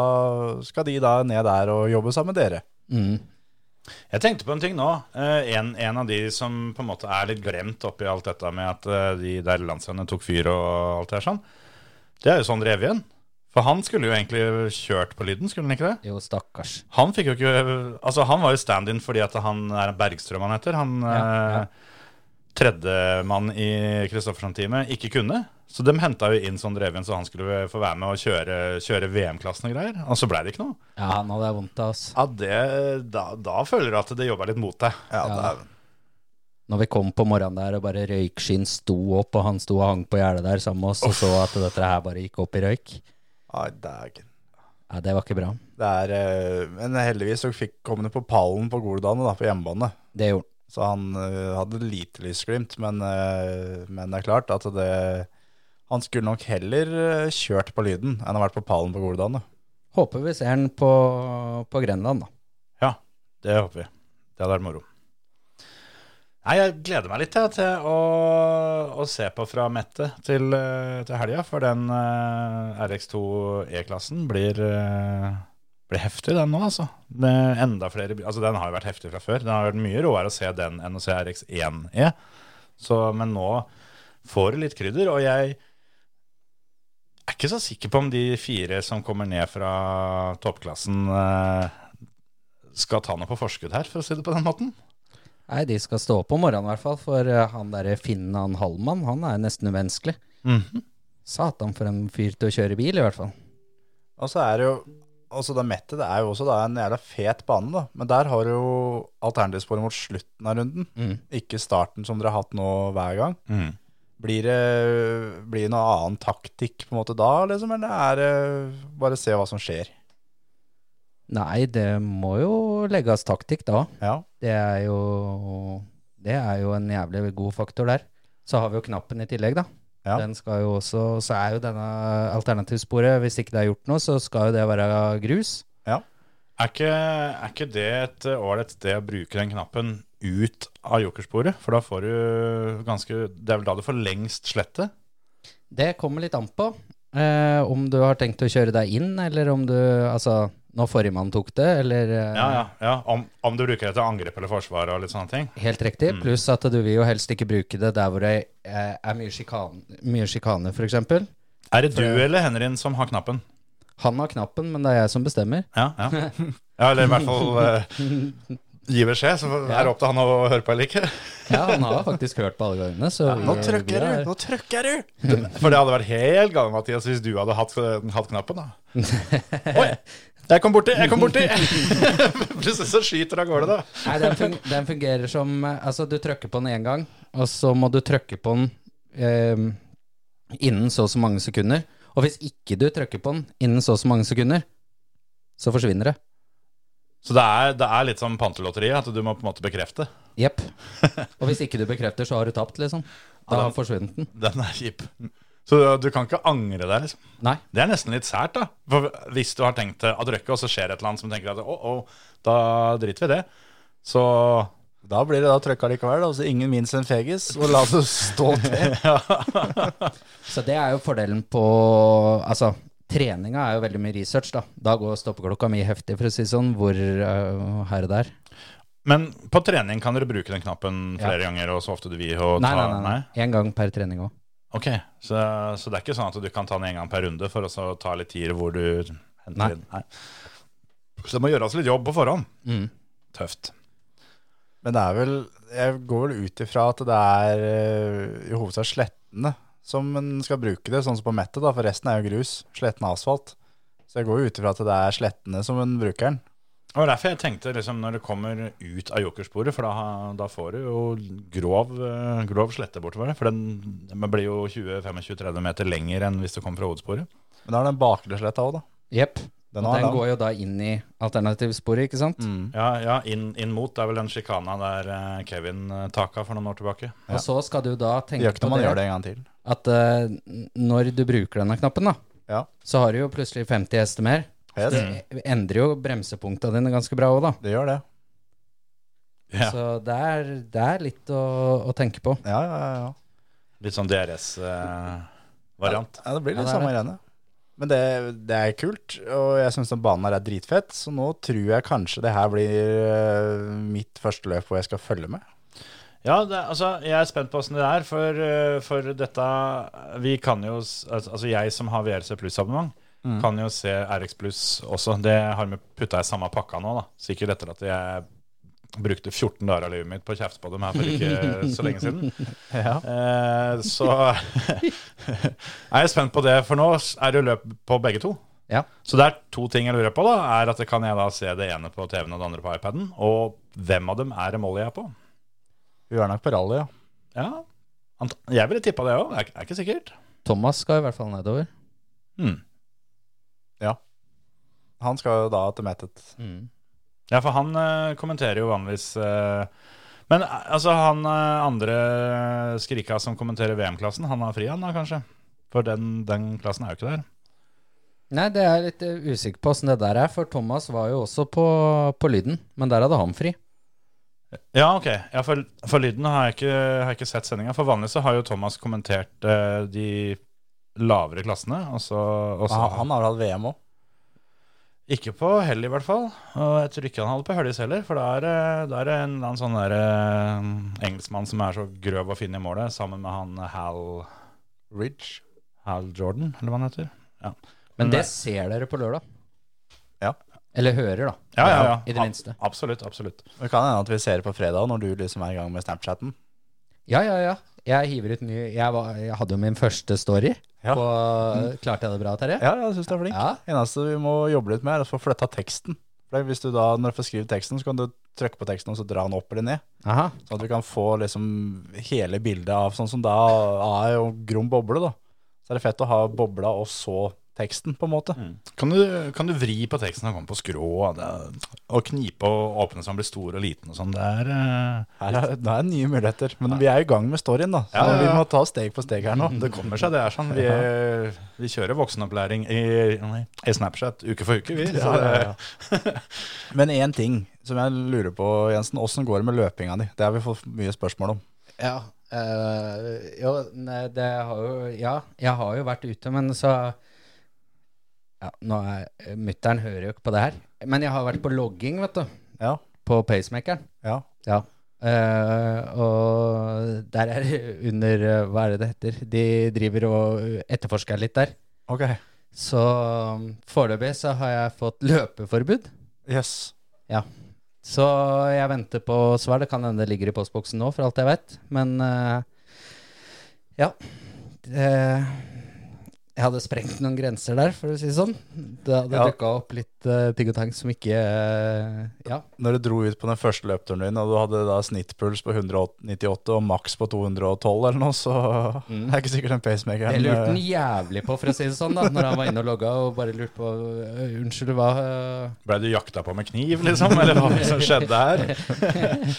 E: skal de da ned der og jobbe sammen med dere.
F: mm.
D: Jeg tenkte på en ting nå. Eh, en, en av de som på en måte er litt glemt oppi alt dette med at eh, de der landsstevnene tok fyr og alt det her sånn, det er jo sånn Revjen. For han skulle jo egentlig kjørt på lyden, skulle han ikke det?
F: Jo, stakkars.
D: Han fikk jo ikke Altså, han var jo stand-in fordi at han er Bergstrøm han heter. Han
F: Ja, ja.
D: eh, tredjemann i Kristoffersen-teamet ikke kunne. Så de henta jo inn sånn Revjen så han skulle få være med og kjøre, kjøre VM-klassen og greier. Og så blei det ikke noe.
F: Ja, han hadde vondt av oss.
D: Ja, det, da, da føler du at det jobba litt mot deg.
E: Ja,
F: Ja.
E: det er,
F: Når vi kom på morgenen der og bare røykskinn sto opp, og han sto og hang på gjerdet der sammen med oss og så at dette her bare gikk opp i røyk.
E: Ai, dægen.
F: Ja, det var ikke bra.
E: Det er, eh, men heldigvis så fikk, kom det på pallen på Goldane da, på hjemmebane.
F: Det gjorde han.
E: Så han eh, hadde lite lysglimt, men, eh, men det er klart at det, han skulle nok heller eh, kjørt på lyden enn å vært på pallen på Goldane.
F: Håper vi ser den på, på Grenland, da.
D: Ja, det håper vi. Det hadde vært moro. Nei, Jeg gleder meg litt jeg, til å, å se på fra Mette til, eh, til helga, for den eh, RX2 E-klassen blir, eh, blir heftig, den nå, altså. Med enda flere bi- Altså, den har jo vært heftig fra før. Den har vært mye råere å se den enn å se RX1 E. Så, men nå får du litt krydder, og jeg er ikke så sikker på om de fire som kommer ned fra toppklassen eh, skal ta noe på forskudd her, for å si det på den måten.
F: Nei, de skal stå opp om morgenen i hvert fall, for eh, han derre Finn han Hallmann, han er nesten umenneskelig.
D: Mhm.
F: Satan for en fyr til å kjøre bil, i hvert fall.
E: Og så er det jo også da Mette, det er jo også da en jævla fet bane, da. Men der har du jo alternativsporet mot slutten av runden,
F: Mm.
E: ikke starten som dere har hatt nå hver gang.
D: Mhm.
E: Blir det, blir det noe annen taktikk på en måte da, liksom, eller er det bare se hva som skjer?
F: Nei, det må jo legges taktikk da.
E: Ja.
F: Det er jo Det er jo en jævlig god faktor der. Så har vi jo knappen i tillegg, da.
E: Ja.
F: Den skal jo også, så er jo denne alternativsporet Hvis ikke det er gjort noe, så skal jo det være grus.
D: Er, ikke, er ikke det et eh, ålreit sted å bruke den knappen ut av jokersporet? For da får du ganske Det er vel da du får lengst slettet?
F: Det kommer litt an på eh, om du har tenkt å kjøre deg inn, eller om du Altså, når forrige mann tok det, eller eh,
D: Ja, ja. ja. Om, om du bruker det til angrep eller forsvar og litt sånne ting.
F: Helt riktig.
E: Mm.
F: Pluss at du vil jo helst ikke bruke det der hvor det eh, er mye sjikane, mye sjikane f.eks.
D: Er det du eller Henrin som har knappen?
F: Han har knappen, men det er jeg som bestemmer.
D: Ja, ja. Ja, eller i hvert fall eh, gi beskjed, så er det opp til han å høre på eller ikke.
F: Ja, han har faktisk hørt på alle gangene, så vi-
E: Nå
F: vi
E: trykker
F: er-
E: du! Nå trykker du!
D: For det hadde vært helt galt, Mathias, hvis du hadde hatt, hatt knappen, da. Oi! Jeg kom borti! Jeg kom borti! Plutselig så skyter av gårde, da.
F: Nei, den, fun den fungerer som eh, Altså, du trykker på den én gang, og så må du trykke på den eh, innen så og så mange sekunder. Og hvis ikke du trykker på den innen så og så mange sekunder, så forsvinner det.
D: Så det er, det er litt som pantelotteriet, at du må på en måte bekrefte.
F: Jepp. Og hvis ikke du bekrefter, så har du tapt, liksom. Da har forsvunnet den.
D: Den er kjip. Så du kan ikke angre deg, liksom.
F: Nei.
D: Det er nesten litt sært, da. For hvis du har tenkt å trykke, og så skjer et eller annet som tenker at å, å, da driter vi i det. Så
E: Da blir det da trøkka likevel, da, så ingen minst en fegis, og la det stå til.
F: Så det er jo fordelen på Altså, treninga er jo veldig mye research, da. Da går stoppeklokka mi heftig, for å si det sånn, hvor eh, her og der.
D: Men på trening kan dere bruke den knappen flere
F: Ja.
D: ganger og så ofte du vil. Og
F: Nei,
D: ta,
F: nei, nei. Én gang per trening òg.
D: Ok, så, så det er ikke sånn at du kan ta den en gang per runde for å så ta litt tid hvor du henter
F: Nei.
D: inn? Nei. Så det må gjøres litt jobb på forhånd.
F: Mm.
D: Tøft.
E: Men det er vel Jeg går vel ut ifra at det er eh, i hovedsak slettene som en skal bruke det, sånn som på mettet, da, for resten er jo grus. Sletten er asfalt. Så jeg går jo ut ifra at det er slettene som en bruker den.
D: Det var derfor jeg tenkte liksom, når du kommer ut av jokersporet, for da, da får du jo grov, eh, grov slette bortover det. For den, den blir jo 20-25-30 meter lenger enn hvis du kommer fra hovedsporet.
E: Men da er det den bakre sletta òg, da.
F: Jepp.
E: Den
F: og
E: har Mm,
F: den
E: lang.
F: går jo da inn i alternativsporet, ikke sant?
D: Ja, ja inn, inn mot. Det er vel den sjikana der eh, Kevin eh, taka for noen år tilbake.
F: Og så skal du da tenke
E: Gjør ikke
F: på
E: når man
F: det,
E: gjør det en gang til.
F: at eh, n- når du bruker denne knappen, da,
E: Ja. Mm.
F: så har du jo plutselig 50 hester mer.
E: Yes. Det,
F: Det endrer jo bremsepunkta dine ganske bra òg, da.
E: gjør det.
D: Ja.
F: Så det er, det er litt å, å tenke på.
E: Ja, ja, ja. ja.
D: Litt sånn DRS-variant.
E: Ja, det blir
F: Ja,
E: litt
F: det er
E: samme
F: det.
E: greiene. Men det, det er kult, og jeg syns den banen her er dritfett, så nå tror jeg kanskje det her blir eh, mitt første løp hvor jeg skal følge med.
D: Ja, det, altså, jeg er spent på åssen det er, for, eh, for dette Vi kan jo s- Altså, altså, jeg som har VRC Pluss-abonnement, kan jo se RX Pluss også. Det har vi putta i samme pakka nå, da. Sikkert etter at jeg brukte 14 dager av livet mitt på å kjefte på dem her for ikke så lenge siden. Eh, så er jeg spent på det, for nå er det jo løp på begge to.
F: Ja.
D: Så det er to ting jeg lurer på. da, er at Kan jeg da se det ene på TV-en og det andre på iPaden? Og hvem av dem er det målet jeg er på?
E: Vi er nok på rally, ja.
D: Ja, ant- jeg ville tippa det òg. Det er, er ikke sikkert.
F: Thomas skal i hvert fall nedover.
D: Hmm.
E: Han skal jo da til Mettet.
D: Ja, for han eh, kommenterer jo vanligvis eh, Men eh, altså, han eh, andre skrika som kommenterer VM-klassen, han har fri, han da, kanskje? For den, den klassen er jo ikke der.
F: Nei, det er jeg litt eh, usikker på åssen det der er, for Thomas var jo også på, på Lyden, men der hadde han fri.
D: Ja, ok. Ja, for, for lyden har jeg ikke, har jeg ikke sett sendinga. For vanligvis så har jo Thomas kommentert eh, de lavere klassene. Og så, og så
E: Han, han har hatt VM òg.
D: Ikke på hell, i hvert fall. Og jeg tror ikke han hadde på Høllis heller, for da er det- da er det en eller annen sånn der, eh, engelskmann som er så grøv å finne i målet, sammen med han Hal,
E: Ridge.
D: Hal Jordan, eller hva han heter. Ja,
F: Men
D: Nei.
F: det ser dere på lørdag.
E: Mm. Ja.
F: Eller hører, da.
D: ja, ja. ja.
F: I det minste.
D: Ab- Absolutt, absolutt.
E: Det kan hende at vi ser det på fredag, når du liksom er i gang med Snapchaten.
F: Ja, ja, ja. Jeg hiver ut ny Jeg, var, jeg hadde jo min første story.
E: Ja.
F: På, klarte jeg det bra, Terje?
E: Ja, jeg syns du er flink.
F: Ja.
E: Eneste vi må jobbe litt med, er å få flytta teksten. For hvis du da, Når du får skrevet teksten, så kan du trykke på teksten og så dra den opp eller ned.
F: Aha.
E: Sånn at vi kan få liksom hele bildet av Sånn som da er jo grom boble, da. Så er det fett å ha bobla og så teksten, på en måte.
D: Mm. Kan du, kan du vri på teksten og komme på skrå det, er- og knipe og åpne så han blir stor og liten og sånn? Det er eh,
E: Her er, nå er det nye muligheter. Men vi er i gang med storyen, da. Så
D: Ja, ja, ja.
E: vi må ta steg på steg her nå.
D: Det kommer seg, det er sånn. Vi, vi kjører voksenopplæring i, nei, i Snapchat uke for uke, vi. Så det,
E: Men én ting som jeg lurer på, Jensen. Åssen går det med løpinga di? Det har vi fått mye spørsmål om.
F: Ja. eh, jo, nei, det har jo Ja, jeg har jo vært ute, men så Ja, nå er Mutter'n hører jo ikke på det her. Men jeg har vært på logging, vet du.
E: Ja.
F: På pacemakeren.
E: Ja.
F: Ja. Eh, og der er det under eh, Hva er det det heter? De driver og etterforsker litt der.
E: Ok.
F: Så um, foreløpig så har jeg fått løpeforbud.
E: Jøss.
F: Ja. Så jeg venter på svar. Det kan hende det ligger i postboksen nå, for alt jeg veit. Men eh, ja. Eh, jeg hadde sprengt noen grenser der, for å si det sånn. Det hadde
E: Ja.
F: dukka opp litt eh, ting og tang som ikke eh, Ja.
E: Når du dro ut på den første løpturen din, og du hadde da snittpuls på 198 og maks på 212 eller noe, så
D: Mm.
E: det er ikke sikkert den
F: Jeg
E: pacemakeren
F: lurte han
E: eh,
F: jævlig på, for å si det sånn, da Når han var inne og logga og bare lurte på «Øh, Unnskyld, hva øh,
D: Blei du jakta på med kniv, liksom? Eller hva var det som skjedde her?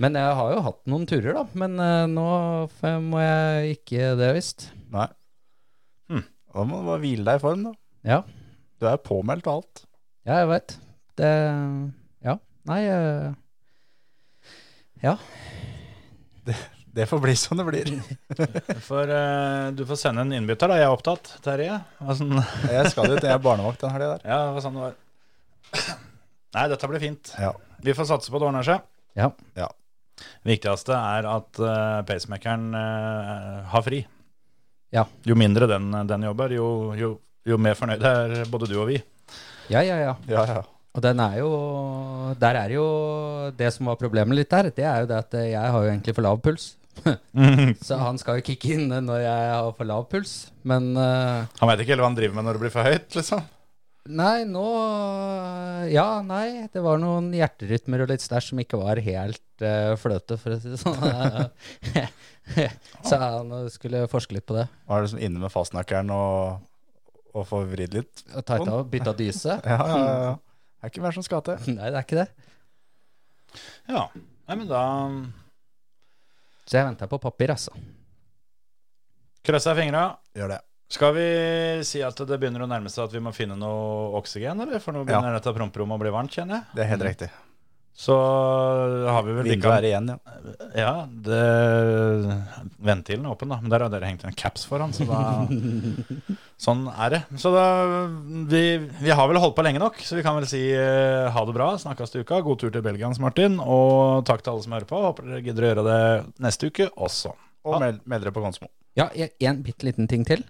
F: Men jeg har jo hatt noen turer, da. Men øh, nå f- må jeg ikke det, visst.
E: Nei.
D: Hmm.
E: Da må du bare hvile deg i form, da.
F: Ja.
E: Du er påmeldt og alt.
F: Ja, jeg veit. Det Ja. Nei øh, Ja.
E: Det får bli som det blir.
D: For eh, du får sende en innbytter, da. Jeg er opptatt, Terje. Åssen
E: Jeg skal dit, jeg er barnevakt den helga der.
D: Ja, det var sånn det var. Nei, dette blir fint.
E: Ja.
D: Vi får satse på at det ordner seg.
F: Ja.
E: Ja.
D: Viktigste er at eh, pacemakeren eh, har fri.
F: Ja.
D: Jo mindre den, den jobber, jo, jo, jo mer fornøyd er både du og vi.
F: Ja, ja, ja.
E: Ja, ja.
F: Og den er jo Der er jo Det som var problemet litt der, det er jo det at øh, jeg har jo egentlig for lav puls. Så han skal jo kicke inn øh, når jeg har for lav puls. Men øh,
D: Han veit ikke helt hva han driver med når det blir for høyt, liksom.
F: Nei, nå Ja, nei. Det var noen hjerterytmer og litt stæsj som ikke var helt eh, fløte, for å si det sånn. Så han skulle forske litt på det.
E: Og er liksom inne med fastnakkeren og, og får vridd litt.
F: Og tighta opp, bytta dyse.
E: Ja, ja, ja. Det er ikke hver som skal til.
F: Nei, det er ikke det.
D: Ja. Nei, men da um,
F: Så jeg venta på papir, altså.
D: krysser jeg fingra.
E: Gjør det.
D: Skal vi si at det begynner å nærme seg at vi må finne noe oksygen, eller? For nå begynner dette promperommet å bli varmt, kjenner jeg.
E: Det er helt riktig.
D: Så har vi vel
E: Vinduet er igjen, ja.
D: Ja, det, ventilen er åpen, da. Men der har dere hengt en caps foran, så da Sånn er det. Så da vi, vi har vel holdt på lenge nok, så vi kan vel si eh, ha det bra. Snakkes til uka. God tur til Belgia, Hans Martin. Og takk til alle som hører på. Håper dere gidder å gjøre det neste uke også.
E: Og meld, meld dere på Konsmo.
F: Ja, jeg- en bitte liten ting til.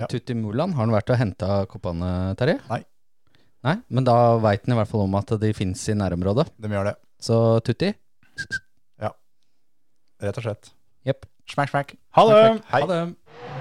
E: Ja.
F: Tutti Mulan, har han vært og henta koppene, Terje?
E: Nei.
F: Nei, Men da veit han i hvert fall om at de fins i nærområdet.
E: De gjør det,
F: Så Tutti,
E: rett og slett.
F: jepp.
E: Smack, smack.
D: Ha det!
E: Hei.
F: Ha det.